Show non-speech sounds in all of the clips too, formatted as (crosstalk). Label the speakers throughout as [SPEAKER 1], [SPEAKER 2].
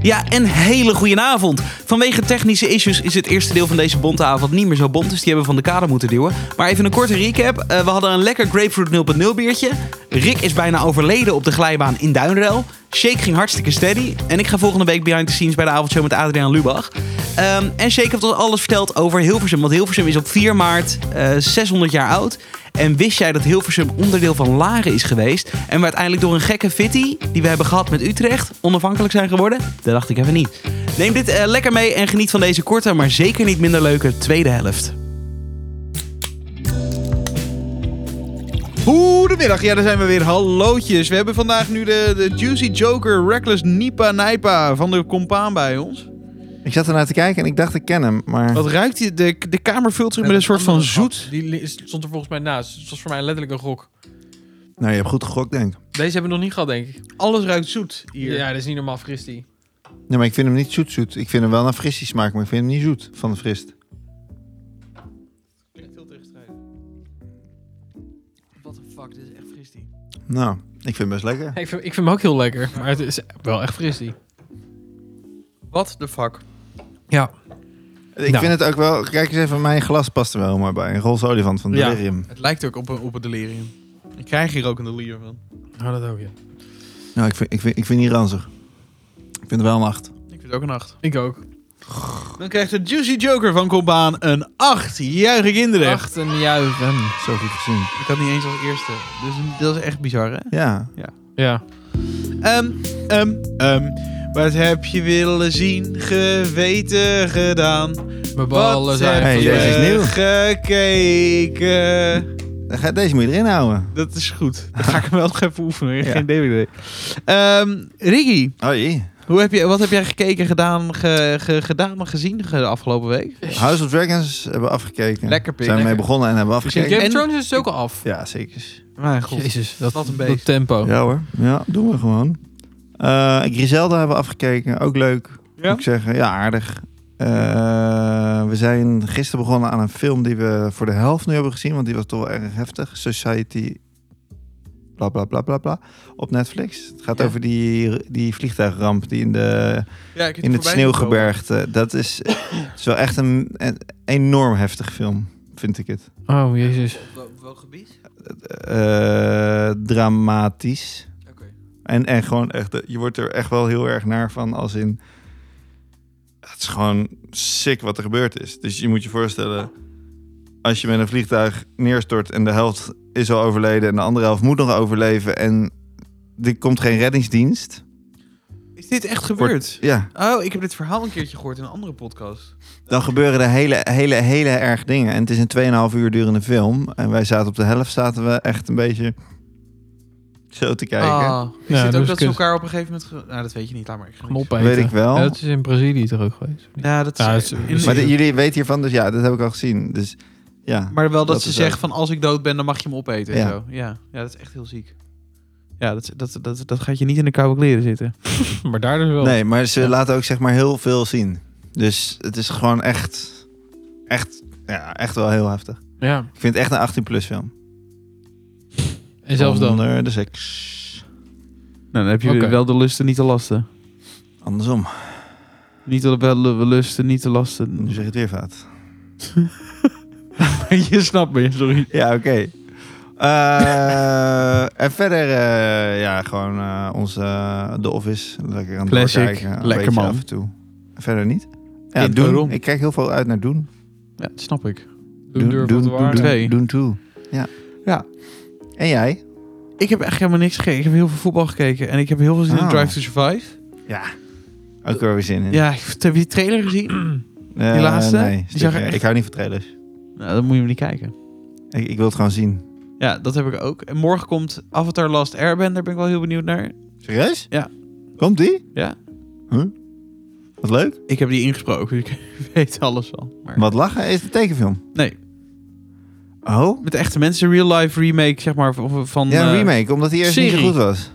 [SPEAKER 1] Ja, en hele goede avond. Vanwege technische issues is het eerste deel van deze bonte avond niet meer zo bont, dus die hebben we van de kader moeten duwen. Maar even een korte recap. Eh, we hadden een lekker Grapefruit 0.0 biertje. Rick is bijna overleden op de glijbaan in Duinrel. Shake ging hartstikke steady. En ik ga volgende week behind the scenes bij de avondshow met Adriaan Lubach. Ehm, en Shake heeft ons alles verteld over Hilversum. Want Hilversum is op 4 maart eh, 600 jaar oud. En wist jij dat Hilversum onderdeel van Laren is geweest? En we uiteindelijk door een gekke fitty die we hebben gehad met Utrecht onafhankelijk zijn geworden? Dat dacht ik even niet. Neem dit eh, lekker mee en geniet van deze korte, maar zeker niet minder leuke tweede helft.
[SPEAKER 2] Goedemiddag, ja daar zijn we weer. Hallootjes. We hebben vandaag nu de, de Juicy Joker Reckless Nipa Nijpa van de compaan bij ons.
[SPEAKER 3] Ik zat ernaar te kijken en ik dacht ik ken hem, maar...
[SPEAKER 2] Wat ruikt hij? De, de kamer vult zich met een
[SPEAKER 4] Met
[SPEAKER 2] soort van
[SPEAKER 4] andere hap.
[SPEAKER 2] zoet.
[SPEAKER 4] Die li- stond er volgens mij naast. Het was voor mij letterlijk een gok.
[SPEAKER 3] Nou, je hebt goed gegokt, denk ik.
[SPEAKER 4] Deze hebben we nog niet gehad, denk ik.
[SPEAKER 2] Alles ruikt zoet hier.
[SPEAKER 4] Ja, dat is niet normaal, Christy.
[SPEAKER 3] Nee, maar ik vind hem niet zoet-zoet. Ik vind hem wel naar fristie smaak, maar ik vind hem niet zoet van de frist.
[SPEAKER 4] What the fuck, dit is echt Christy.
[SPEAKER 3] Nou, ik vind hem best lekker.
[SPEAKER 4] Ik vind, ik vind hem ook heel lekker, maar het is wel echt Christy.
[SPEAKER 2] What the fuck?
[SPEAKER 4] Ja.
[SPEAKER 3] Ik
[SPEAKER 4] Nou.
[SPEAKER 3] vind het ook wel... Kijk eens even, mijn glas past er wel maar bij. Een roze olifant van
[SPEAKER 4] Ja.
[SPEAKER 3] Delirium.
[SPEAKER 2] Het lijkt ook op een, op een delirium. Ik krijg hier ook een delirium van.
[SPEAKER 4] Nou, dat ook, ja.
[SPEAKER 3] Nou, ik vind, ik vind, ik vind die ranzig. Ik vind het wel een acht.
[SPEAKER 2] Ik vind het ook een 8.
[SPEAKER 4] Ik ook.
[SPEAKER 2] Dan krijgt de Juicy Joker van Compaan een 8. Juichen kinderen.
[SPEAKER 4] Echt een juichen.
[SPEAKER 3] Zo goed gezien.
[SPEAKER 2] Ik had niet eens als eerste. Dus dat is echt bizar, hè?
[SPEAKER 3] Ja.
[SPEAKER 4] Ja.
[SPEAKER 2] Ehm, ehm, ehm. Wat heb je willen zien, geweten, gedaan?
[SPEAKER 4] Mijn ballen
[SPEAKER 2] Wat
[SPEAKER 4] zijn...
[SPEAKER 2] heb
[SPEAKER 3] Hey,
[SPEAKER 2] je
[SPEAKER 3] deze is nieuw.
[SPEAKER 2] gekeken?
[SPEAKER 3] Dan ga- Deze moet je erin houden.
[SPEAKER 2] Dat is goed. Dat ga ik hem wel nog even oefenen. Ik heb
[SPEAKER 3] Ja.
[SPEAKER 2] Geen DVD. Ehm Riggy,
[SPEAKER 3] Oh jee.
[SPEAKER 2] hoe heb je, wat heb jij gekeken, gedaan, ge, ge- gedaan en gezien ge- de afgelopen week?
[SPEAKER 3] House of Dragons hebben we afgekeken.
[SPEAKER 2] Lekker, Pim.
[SPEAKER 3] Zijn we mee
[SPEAKER 2] Lekker.
[SPEAKER 3] begonnen en hebben we
[SPEAKER 4] Misschien
[SPEAKER 3] afgekeken.
[SPEAKER 4] Game of
[SPEAKER 2] En-
[SPEAKER 4] Thrones is het ook al af.
[SPEAKER 3] Ja, zeker.
[SPEAKER 2] Mijn god.
[SPEAKER 4] Jezus, dat,
[SPEAKER 2] Wat een
[SPEAKER 4] dat
[SPEAKER 2] beest.
[SPEAKER 4] tempo.
[SPEAKER 3] Ja hoor. Ja, doen we gewoon. Eh, Griselda hebben we afgekeken. Ook leuk.
[SPEAKER 2] Ja?
[SPEAKER 3] Moet ik zeggen. Ja, aardig. Eh, we zijn gisteren begonnen aan een film die we voor de helft nu hebben gezien. Want die was toch wel erg heftig. Society... Bla bla bla bla bla. Op Netflix. Het gaat
[SPEAKER 4] Ja.
[SPEAKER 3] over die, die vliegtuigramp die in de
[SPEAKER 2] Ja, ik heb
[SPEAKER 3] in
[SPEAKER 2] voorbij
[SPEAKER 3] het
[SPEAKER 2] gekomen.
[SPEAKER 3] sneeuwgebergte. Dat is, het is wel echt een, een enorm heftig film, vind ik het.
[SPEAKER 4] Oh, jezus.
[SPEAKER 1] Welk gebied?
[SPEAKER 3] Eh, dramatisch.
[SPEAKER 1] Oké.
[SPEAKER 3] En, en gewoon echt, eh, je wordt er echt wel heel erg naar van als in... Het is gewoon sick wat er gebeurd is. Dus je moet je voorstellen, als je met een vliegtuig neerstort en de helft is al overleden en de andere helft moet nog overleven en er komt geen reddingsdienst.
[SPEAKER 2] Is dit echt gebeurd?
[SPEAKER 3] Ja,
[SPEAKER 2] Oh, ik heb dit verhaal een keertje gehoord in een andere podcast.
[SPEAKER 3] Dan gebeuren er hele, hele, hele erg dingen. En het is een 2,5 uur durende film. En wij zaten op de helft, zaten we echt een beetje zo te kijken.
[SPEAKER 2] Ah, is
[SPEAKER 4] Ja, dus
[SPEAKER 2] dit
[SPEAKER 4] dat
[SPEAKER 2] ook
[SPEAKER 4] is
[SPEAKER 2] dat ze
[SPEAKER 4] kut.
[SPEAKER 2] elkaar op een gegeven moment... ge- Nou, dat weet je niet, laat maar. Ik ga niks.
[SPEAKER 4] Knop eten.
[SPEAKER 3] Weet ik wel.
[SPEAKER 4] Ja, dat is in Brazilië toch ook geweest? of niet?
[SPEAKER 2] Ja, dat
[SPEAKER 4] Ja,
[SPEAKER 2] is...
[SPEAKER 4] het
[SPEAKER 2] in-
[SPEAKER 4] is-
[SPEAKER 3] maar de- jullie weten hiervan, dus ja, dat heb ik al gezien. Dus ja,
[SPEAKER 2] Maar wel dat,
[SPEAKER 3] Dat
[SPEAKER 2] ze
[SPEAKER 3] is
[SPEAKER 2] zeggen
[SPEAKER 3] ook-
[SPEAKER 2] van als ik dood ben, dan mag je hem opeten. en
[SPEAKER 3] Ja.
[SPEAKER 2] Zo. Ja. ja, dat is echt heel ziek. Ja, dat, dat, dat, dat gaat je niet in de koude kleren zitten.
[SPEAKER 4] (laughs) Maar daar dus wel.
[SPEAKER 3] nee, maar ze
[SPEAKER 4] Ja.
[SPEAKER 3] laten ook zeg maar heel veel zien. Dus het is gewoon echt, echt, ja, echt wel heel heftig.
[SPEAKER 4] Ja.
[SPEAKER 3] Ik vind het echt een 18 plus film.
[SPEAKER 4] En zelfs dan.
[SPEAKER 3] Onder de seks.
[SPEAKER 2] Nou, dan heb je
[SPEAKER 4] Oké.
[SPEAKER 2] wel de lusten niet te lasten.
[SPEAKER 3] Andersom,
[SPEAKER 2] Niet de, wel de lusten niet te lasten.
[SPEAKER 3] nu zeg je het weer fout.
[SPEAKER 2] (laughs) je snapt me, sorry.
[SPEAKER 3] Ja, oké.
[SPEAKER 4] (laughs)
[SPEAKER 3] Eh, en verder, eh, ja, gewoon eh onze eh, The Office. Lekker aan het
[SPEAKER 2] Classic.
[SPEAKER 3] doorkijken, een
[SPEAKER 2] Lekker
[SPEAKER 3] beetje
[SPEAKER 2] man.
[SPEAKER 3] Af en toe. Verder niet. Ja,
[SPEAKER 2] Kind,
[SPEAKER 3] doen.
[SPEAKER 2] waarom?
[SPEAKER 3] Ik kijk heel veel uit naar doen.
[SPEAKER 2] Ja, dat snap ik.
[SPEAKER 4] Doen, durven
[SPEAKER 3] doen,
[SPEAKER 4] wat
[SPEAKER 3] doen,
[SPEAKER 4] waar.
[SPEAKER 3] doen,
[SPEAKER 2] Twee.
[SPEAKER 3] doen toe. Ja.
[SPEAKER 2] Ja.
[SPEAKER 3] En jij?
[SPEAKER 2] Ik heb echt helemaal niks gekeken. Ik heb heel veel voetbal gekeken. En ik heb heel veel zin in
[SPEAKER 3] Ah.
[SPEAKER 2] Drive to Survive.
[SPEAKER 3] Ja. Ook wel weer zin in.
[SPEAKER 2] Ja, ik- heb je die trailer gezien?
[SPEAKER 3] Eh,
[SPEAKER 2] die laatste?
[SPEAKER 3] Nee,
[SPEAKER 2] Die zag er
[SPEAKER 3] stukje.
[SPEAKER 2] echt-
[SPEAKER 3] ik hou niet van trailers.
[SPEAKER 2] nou, dan moet je hem niet kijken.
[SPEAKER 3] Ik, ik wil het gewoon zien.
[SPEAKER 2] Ja, dat heb ik ook. En morgen komt Avatar Last Airbender. Ben ik wel heel benieuwd naar.
[SPEAKER 3] Serieus?
[SPEAKER 2] Ja.
[SPEAKER 3] Komt die?
[SPEAKER 2] Ja.
[SPEAKER 3] Huh? Wat leuk.
[SPEAKER 2] Ik heb die ingesproken. dus Ik (laughs) weet alles al. Maar...
[SPEAKER 3] Wat lachen is de tekenfilm.
[SPEAKER 2] Nee,
[SPEAKER 3] Oh?
[SPEAKER 2] Met echte mensen, real life remake, zeg maar, van- van...
[SPEAKER 3] Ja, een
[SPEAKER 2] eh,
[SPEAKER 3] remake, omdat die eerst niet zo
[SPEAKER 2] serie.
[SPEAKER 3] goed was.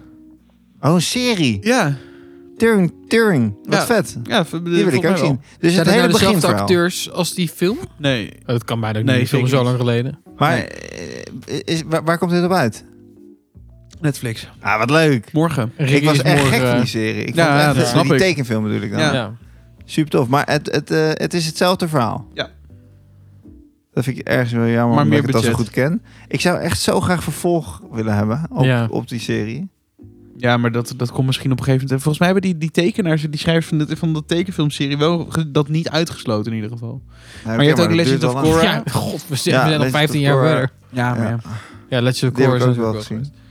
[SPEAKER 3] Oh, een serie.
[SPEAKER 2] Ja,
[SPEAKER 3] Turing, Turing. Wat
[SPEAKER 2] Ja.
[SPEAKER 3] vet.
[SPEAKER 2] ja.
[SPEAKER 3] Die wil ik ook zien. Dus het
[SPEAKER 4] Zijn dat
[SPEAKER 3] hele
[SPEAKER 4] nou
[SPEAKER 3] begin
[SPEAKER 4] dezelfde acteurs als die film?
[SPEAKER 2] Nee,
[SPEAKER 4] Dat kan bijna ook
[SPEAKER 2] Nee,
[SPEAKER 4] niet. De film is
[SPEAKER 2] zeker
[SPEAKER 4] zo lang geleden.
[SPEAKER 3] Maar eh, is, waar, waar komt dit op uit?
[SPEAKER 2] Netflix.
[SPEAKER 3] Ah, wat leuk.
[SPEAKER 2] Morgen.
[SPEAKER 4] Ricky
[SPEAKER 3] ik was
[SPEAKER 4] is
[SPEAKER 3] echt
[SPEAKER 4] morgen,
[SPEAKER 3] gek van die
[SPEAKER 4] eh,
[SPEAKER 3] serie. Ik
[SPEAKER 2] Ja,
[SPEAKER 3] vond
[SPEAKER 2] ja,
[SPEAKER 3] echt,
[SPEAKER 4] dat
[SPEAKER 3] eh,
[SPEAKER 2] snap
[SPEAKER 3] die
[SPEAKER 2] ik.
[SPEAKER 3] tekenfilm bedoel ik dan.
[SPEAKER 2] Ja.
[SPEAKER 4] ja.
[SPEAKER 3] Super tof. Maar het, het, eh, het is hetzelfde verhaal.
[SPEAKER 2] Ja.
[SPEAKER 3] Dat vind ik ergens wel jammer,
[SPEAKER 2] Maar
[SPEAKER 3] omdat
[SPEAKER 2] meer
[SPEAKER 3] ik het al zo
[SPEAKER 2] budget.
[SPEAKER 3] goed ken. Ik zou echt zo graag vervolg willen hebben op,
[SPEAKER 4] Ja.
[SPEAKER 3] op die serie.
[SPEAKER 2] Ja, maar dat, dat komt misschien op een gegeven moment. eh, Volgens mij hebben die, die tekenaars, en die schrijvers van, de, van de tekenfilmserie wel ge- dat niet uitgesloten in ieder geval.
[SPEAKER 3] maar
[SPEAKER 2] je hebt ook Legend of Korra.
[SPEAKER 4] Ja, (laughs) god, we zijn,
[SPEAKER 3] Ja,
[SPEAKER 4] we zijn al
[SPEAKER 3] Legend
[SPEAKER 4] 15
[SPEAKER 3] of
[SPEAKER 4] jaar
[SPEAKER 3] Korra.
[SPEAKER 4] verder.
[SPEAKER 2] Ja,
[SPEAKER 3] maar ja.
[SPEAKER 4] Ja, Legend of
[SPEAKER 3] Die
[SPEAKER 4] Korra
[SPEAKER 3] heb
[SPEAKER 4] is
[SPEAKER 3] ik ook wel
[SPEAKER 4] natuurlijk wel
[SPEAKER 3] gezien.
[SPEAKER 4] geweest.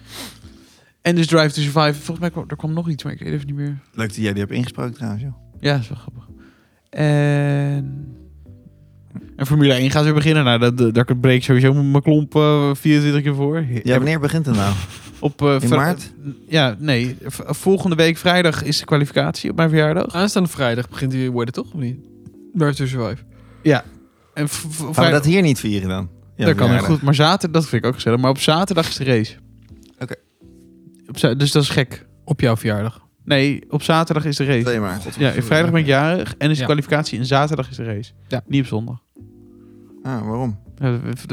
[SPEAKER 2] En dus Drive to Survive. Volgens mij kwam, er kwam nog iets, maar ik weet even niet meer.
[SPEAKER 3] Leuk dat jij die hebt ingesproken trouwens, joh.
[SPEAKER 2] Ja, dat is wel grappig. En... En Formule 1 gaat weer beginnen. Nou, dat, dat, daar breek ik sowieso m- mijn klomp eh, 24 keer voor. He-
[SPEAKER 3] Ja, wanneer begint het nou?
[SPEAKER 2] Op, eh,
[SPEAKER 3] In
[SPEAKER 2] vri-
[SPEAKER 3] maart?
[SPEAKER 2] Ja, nee. v- volgende week vrijdag is de kwalificatie op mijn verjaardag.
[SPEAKER 4] Aanstaande vrijdag begint die worden toch? Of niet? Drive to Survive.
[SPEAKER 2] En v- v-
[SPEAKER 3] Gaan we
[SPEAKER 2] vrijdag-
[SPEAKER 3] dat hier niet vieren dan? Ja,
[SPEAKER 2] dat kan ook
[SPEAKER 3] verjaardag.
[SPEAKER 2] goed. Maar zaterdag, dat vind ik ook gezellig. Maar op zaterdag is de race.
[SPEAKER 3] Oké.
[SPEAKER 2] Op za- Dus dat is gek.
[SPEAKER 4] Op jouw verjaardag.
[SPEAKER 2] Nee, op zaterdag is de race.
[SPEAKER 3] 2 maart.
[SPEAKER 2] Ja, in vrijdag ben ik jarig en is de
[SPEAKER 4] Ja.
[SPEAKER 2] kwalificatie en zaterdag is de race.
[SPEAKER 4] Ja.
[SPEAKER 2] Niet op zondag.
[SPEAKER 3] Ah, waarom?
[SPEAKER 2] Ja, d- d- d-